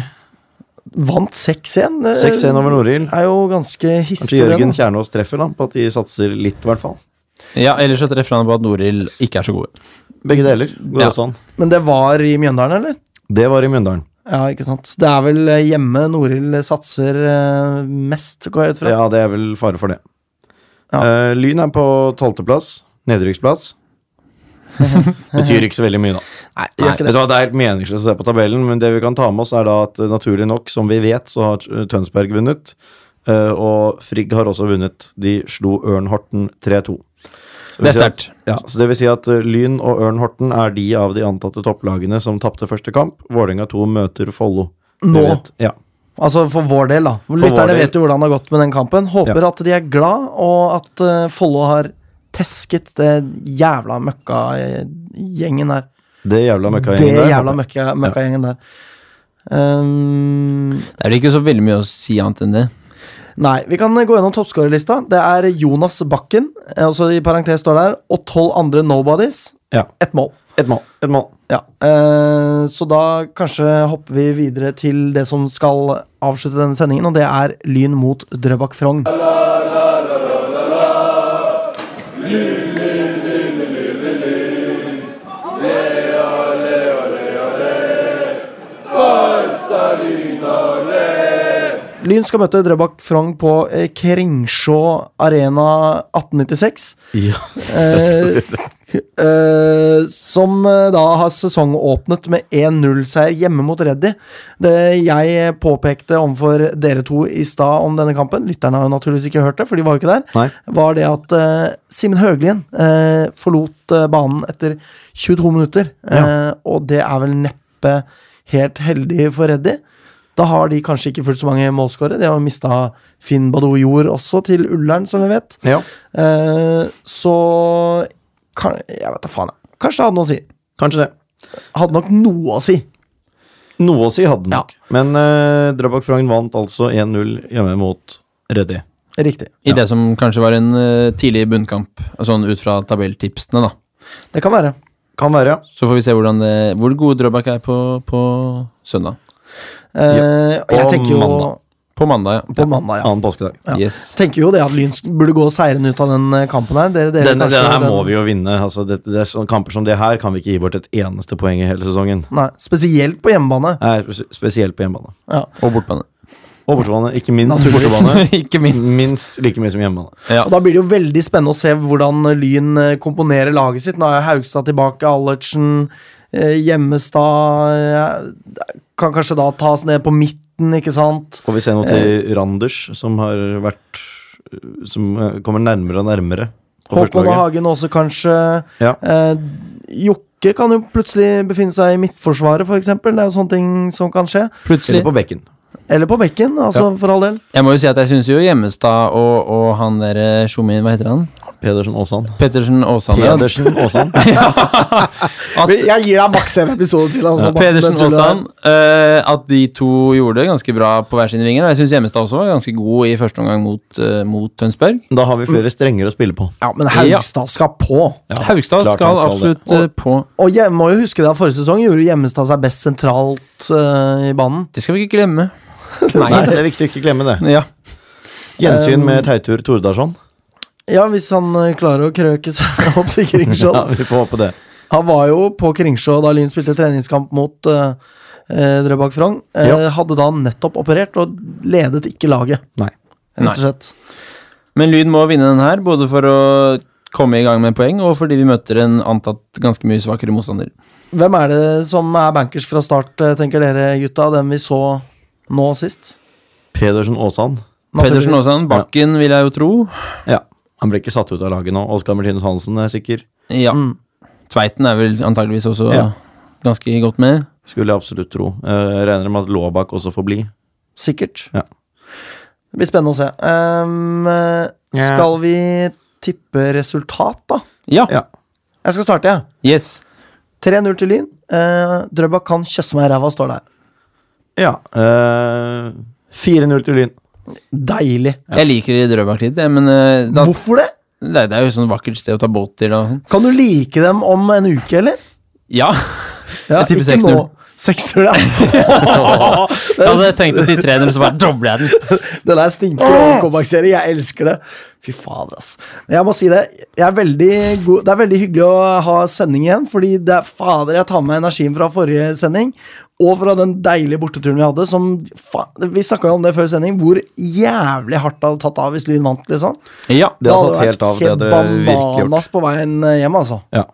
Speaker 2: Vant 6-1. eh,
Speaker 3: 6-1 over Norild.
Speaker 2: Er jo ganske
Speaker 3: Kanskje
Speaker 2: hissig.
Speaker 3: Jørgen
Speaker 2: den.
Speaker 3: Kjernås treffer da, på at de satser litt, i hvert fall.
Speaker 1: Ja, Ellers så treffer han på at Norild ikke er så gode.
Speaker 2: Mm.
Speaker 3: Begge deler går
Speaker 1: Ja.
Speaker 3: også an.
Speaker 2: Men det var i Mjøndalen, eller?
Speaker 3: Det var i Mjøndalen.
Speaker 2: Ja, ikke sant. Det er vel eh, hjemme Norild satser eh, mest, går jeg ut fra.
Speaker 3: Ja, det er vel fare for det.
Speaker 2: Ja.
Speaker 3: Eh, lyn er på tolvteplass. Nedrykksplass. Betyr ikke så veldig mye, da.
Speaker 2: Nei,
Speaker 3: Nei,
Speaker 2: gjør ikke
Speaker 3: vet
Speaker 2: det.
Speaker 3: du hva, det er helt meningsløst å se på tabellen, men det vi kan ta med oss, er da at eh, naturlig nok, som vi vet, så har eh, Tønsberg vunnet. eh, og Frigg har også vunnet. De slo Ørn Horten 3-2. Så
Speaker 1: Det er
Speaker 3: vil si at-
Speaker 1: sterkt.
Speaker 3: Ja, så det vil si at eh, Lyn og Ørn Horten er de av de antatte topplagene som tapte første kamp. Vålerenga 2 møter Follo. Det
Speaker 2: Nå.
Speaker 3: vet- Ja.
Speaker 2: Altså for vår del, da. Lytterne
Speaker 3: del.
Speaker 2: vet jo hvordan det har gått med den kampen. Håper at de er glad, og at eh, Follo har tesket det jævla møkkagjengen her.
Speaker 3: Det jævla
Speaker 2: det
Speaker 3: møkkagjengen
Speaker 2: jævla møkka- møkkagjengen der. Ehm,
Speaker 1: Det er vel ikke så veldig mye å si annet enn det.
Speaker 2: nei, vi kan gå gjennom toppskårerlista. Det er Jonas Bakken, eh, også i parentes står der, og tolv andre nobodies.
Speaker 3: Ja.
Speaker 2: Ett mål.
Speaker 3: Et mål. Et mål.
Speaker 2: Ja. eh, så da kanskje hopper vi videre til det som skal avslutte denne sendingen, og det er Lyn mot Drøbak Frogn. Lyn skal møte Drøbak Frogn på eh, Kringsjå Arena 1896. Eh, eh, som eh, da har sesongåpnet med 1-0-seier hjemme mot Reddy. Det jeg påpekte overfor dere to i stad om denne kampen, lytterne har jo naturligvis ikke hørt det, for de var jo ikke der,
Speaker 3: Nei.
Speaker 2: var det at eh, Simen Høglien eh, forlot eh, banen etter 22 minutter. Eh, og det er vel neppe helt heldig for Reddy. Da har de kanskje ikke fullt så mange målskårere. De har jo mista Finn Badou Jord også til Ullern, som vi vet.
Speaker 3: Ja.
Speaker 2: Eh, så kan, Jeg vet da faen. jeg. Kanskje det hadde noe å si.
Speaker 3: Kanskje det.
Speaker 2: Hadde nok noe å si.
Speaker 3: Noe å si hadde den
Speaker 2: Ja.
Speaker 3: nok. Men uh, Drøbak Frogn vant altså 1-0 hjemme mot Reddy.
Speaker 2: Riktig.
Speaker 1: I det som kanskje var en eh, tidlig bunnkamp, sånn ut fra tabelltipsene, da.
Speaker 2: Det kan være.
Speaker 3: Kan være, ja.
Speaker 1: Så får vi se hvordan det, hvor gode Drøbak er på, på søndag.
Speaker 2: Eh, og jeg
Speaker 3: På
Speaker 2: tenker jo
Speaker 3: mandag.
Speaker 1: På mandag, ja. Eh,
Speaker 2: På mandag, ja.
Speaker 3: Annen påskedag.
Speaker 1: Yes.
Speaker 2: Jeg tenker jo det at Lyn burde gå seirende ut av den eh, kampen her. Dere deler
Speaker 3: Denne,
Speaker 2: kanskje
Speaker 3: denne her
Speaker 2: den-
Speaker 3: må vi jo vinne. Altså, det, det er sånne kamper som det her kan vi ikke gi bort et eneste poeng i hele sesongen.
Speaker 2: Nei, spesielt på hjemmebane.
Speaker 3: Nei, spe- spesielt på hjemmebane.
Speaker 2: Ja.
Speaker 1: Og bortbane.
Speaker 3: Og bortebane. Ikke minst
Speaker 2: Naturligvis.
Speaker 3: bortebane.
Speaker 1: ikke
Speaker 3: Mm.
Speaker 1: minst.
Speaker 3: Minst like mye som hjemmebane.
Speaker 1: Ja.
Speaker 2: Og Da blir det jo veldig spennende å se hvordan Lyn eh, komponerer laget sitt. Nå er Haugstad tilbake, Allertsen, eh, Hjemmestad eh, Kan kanskje da tas ned på midten, ikke sant?
Speaker 3: Får vi se noe til Randers, som har vært Som eh, kommer nærmere og nærmere på
Speaker 2: Håkon og
Speaker 3: førstelaget.
Speaker 2: Hagen også, kanskje.
Speaker 3: Ja.
Speaker 2: Eh, Jokke Bakke kan jo plutselig befinne seg i midtforsvaret, f.eks. Det er jo sånne ting som kan skje.
Speaker 1: Plutselig.
Speaker 3: Eller på bekken.
Speaker 2: Eller på bekken, altså, for all del.
Speaker 1: Jeg må jo si at jeg syns jo Gjemmestad og, og han derre Sjomin, hva heter han?
Speaker 3: Pedersen Aasan.
Speaker 1: Pettersen Aasane. ja.
Speaker 3: Pedersen Aasan.
Speaker 1: At,
Speaker 2: Jeg gir deg maks en episode til. Altså, bare
Speaker 1: Pedersen
Speaker 2: den tullet der.
Speaker 1: Aasan. eh, at de to gjorde det ganske bra på hver sine vinger. Og jeg syns Gjemmestad også var ganske god i første omgang mot, eh, mot Tønsberg.
Speaker 3: Da har vi flere strenger å spille på.
Speaker 2: Ja, men Haugstad skal på.
Speaker 3: Ja,
Speaker 1: Haugstad
Speaker 3: klart
Speaker 1: skal,
Speaker 3: han skal det.
Speaker 1: absolutt eh, på.
Speaker 2: Og jeg må jo huske det at forrige sesong gjorde Gjemmestad seg best sentralt eh, i banen.
Speaker 1: Det skal vi ikke glemme.
Speaker 3: Nei, det er viktig å ikke glemme det.
Speaker 1: Ja.
Speaker 3: Gjensyn med Teitur Tordarsson.
Speaker 2: Ja, hvis han eh, klarer å krøke seg opp til
Speaker 3: Ja,
Speaker 2: Kringsjå.
Speaker 3: vi får håpe det.
Speaker 2: Han var jo på Kringsjå da Lyn spilte treningskamp mot eh, eh, Drøbak Frogn. Eh,
Speaker 3: Ja.
Speaker 2: Hadde da nettopp operert og ledet ikke laget,
Speaker 3: Nei.
Speaker 2: rett og slett.
Speaker 1: Men Lyn må vinne den her, både for å komme i gang med poeng, og fordi vi møter en antatt ganske mye svakere motstander.
Speaker 2: Hvem er det som er bankers fra start, eh, tenker dere gutta? Den vi så nå sist?
Speaker 3: Pedersen Aasan.
Speaker 2: Naturligvis.
Speaker 1: Pedersen Aasan, Bakken vil jeg jo tro.
Speaker 3: Ja. Han ble ikke satt ut av laget nå. Oskar Martinus Hansen er sikker.
Speaker 1: Ja.
Speaker 2: Mm.
Speaker 1: Tveiten er vel antageligvis også
Speaker 3: Ja.
Speaker 1: ganske godt med.
Speaker 3: Skulle jeg absolutt tro. Eh, regner med at Laabak også får bli.
Speaker 2: Sikkert.
Speaker 3: Ja.
Speaker 2: Det blir spennende å se. Ehm, eh, skal vi tippe resultat, da?
Speaker 1: Ja.
Speaker 3: Ja.
Speaker 2: Jeg skal starte, jeg.
Speaker 1: Yes.
Speaker 2: 3-0 til Lyn. Eh, Drøbak kan kjøsse meg i ræva, står der.
Speaker 3: Ja. eh, 4-0 til Lyn.
Speaker 2: Deilig.
Speaker 1: Jeg liker Drøbak litt, jeg, men eh, da,
Speaker 2: Hvorfor det?
Speaker 1: det, det er jo sånn vakkert sted å ta båt til og sånn.
Speaker 2: Kan du like dem om en uke, eller?
Speaker 1: Ja. Jeg tipper
Speaker 2: ikke
Speaker 1: 6-0.
Speaker 2: nå. 6-0, ja.
Speaker 1: Jeg hadde tenkt å si 300, så bare dobler jeg den.
Speaker 2: Den der stinker av comeback-serie. Jeg elsker det. Fy fader, ass. Men Jeg må si det. Jeg er veldig god. Det er veldig hyggelig å ha sending igjen, fordi det er fader, jeg tar med energien fra forrige sending. Og fra den deilige borteturen vi hadde. Som, fa- vi snakka jo om det før sending, hvor jævlig hardt det hadde tatt av hvis Lyn vant. liksom.
Speaker 1: Ja.
Speaker 3: Det har
Speaker 2: Da
Speaker 3: tatt
Speaker 2: hadde
Speaker 3: helt av. Det hadde
Speaker 2: vært
Speaker 3: det virkelig gjort.
Speaker 2: bananas på veien hjem, altså.
Speaker 3: Ja.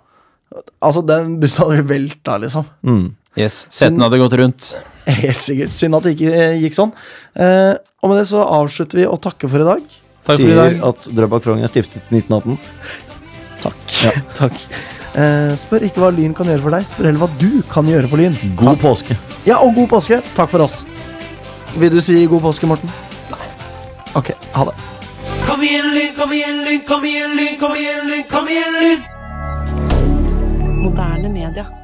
Speaker 2: Altså, Den bussen hadde velta, liksom.
Speaker 3: Mm.
Speaker 1: Yes. Seten hadde gått rundt.
Speaker 2: Helt sikkert. Synd at det ikke eh, gikk sånn. Eh, og med det så avslutter vi å takke for i dag.
Speaker 1: Takk for i
Speaker 3: Sier
Speaker 1: dag.
Speaker 3: at Drøbak Frogn er stiftet i 1918.
Speaker 2: Takk. Takk. Eh, spør ikke hva Lyn kan gjøre for deg, spør heller hva du kan gjøre for Lyn.
Speaker 3: God påske.
Speaker 2: Ja, og god påske. Takk for oss. Vil du si god påske, Morten? Nei. Ok, ha det.
Speaker 7: Kom igjen, Lyn, kom igjen, Lyn, kom igjen, Lyn, kom igjen, Lyn, kom igjen, Lyn!
Speaker 8: Moderne media.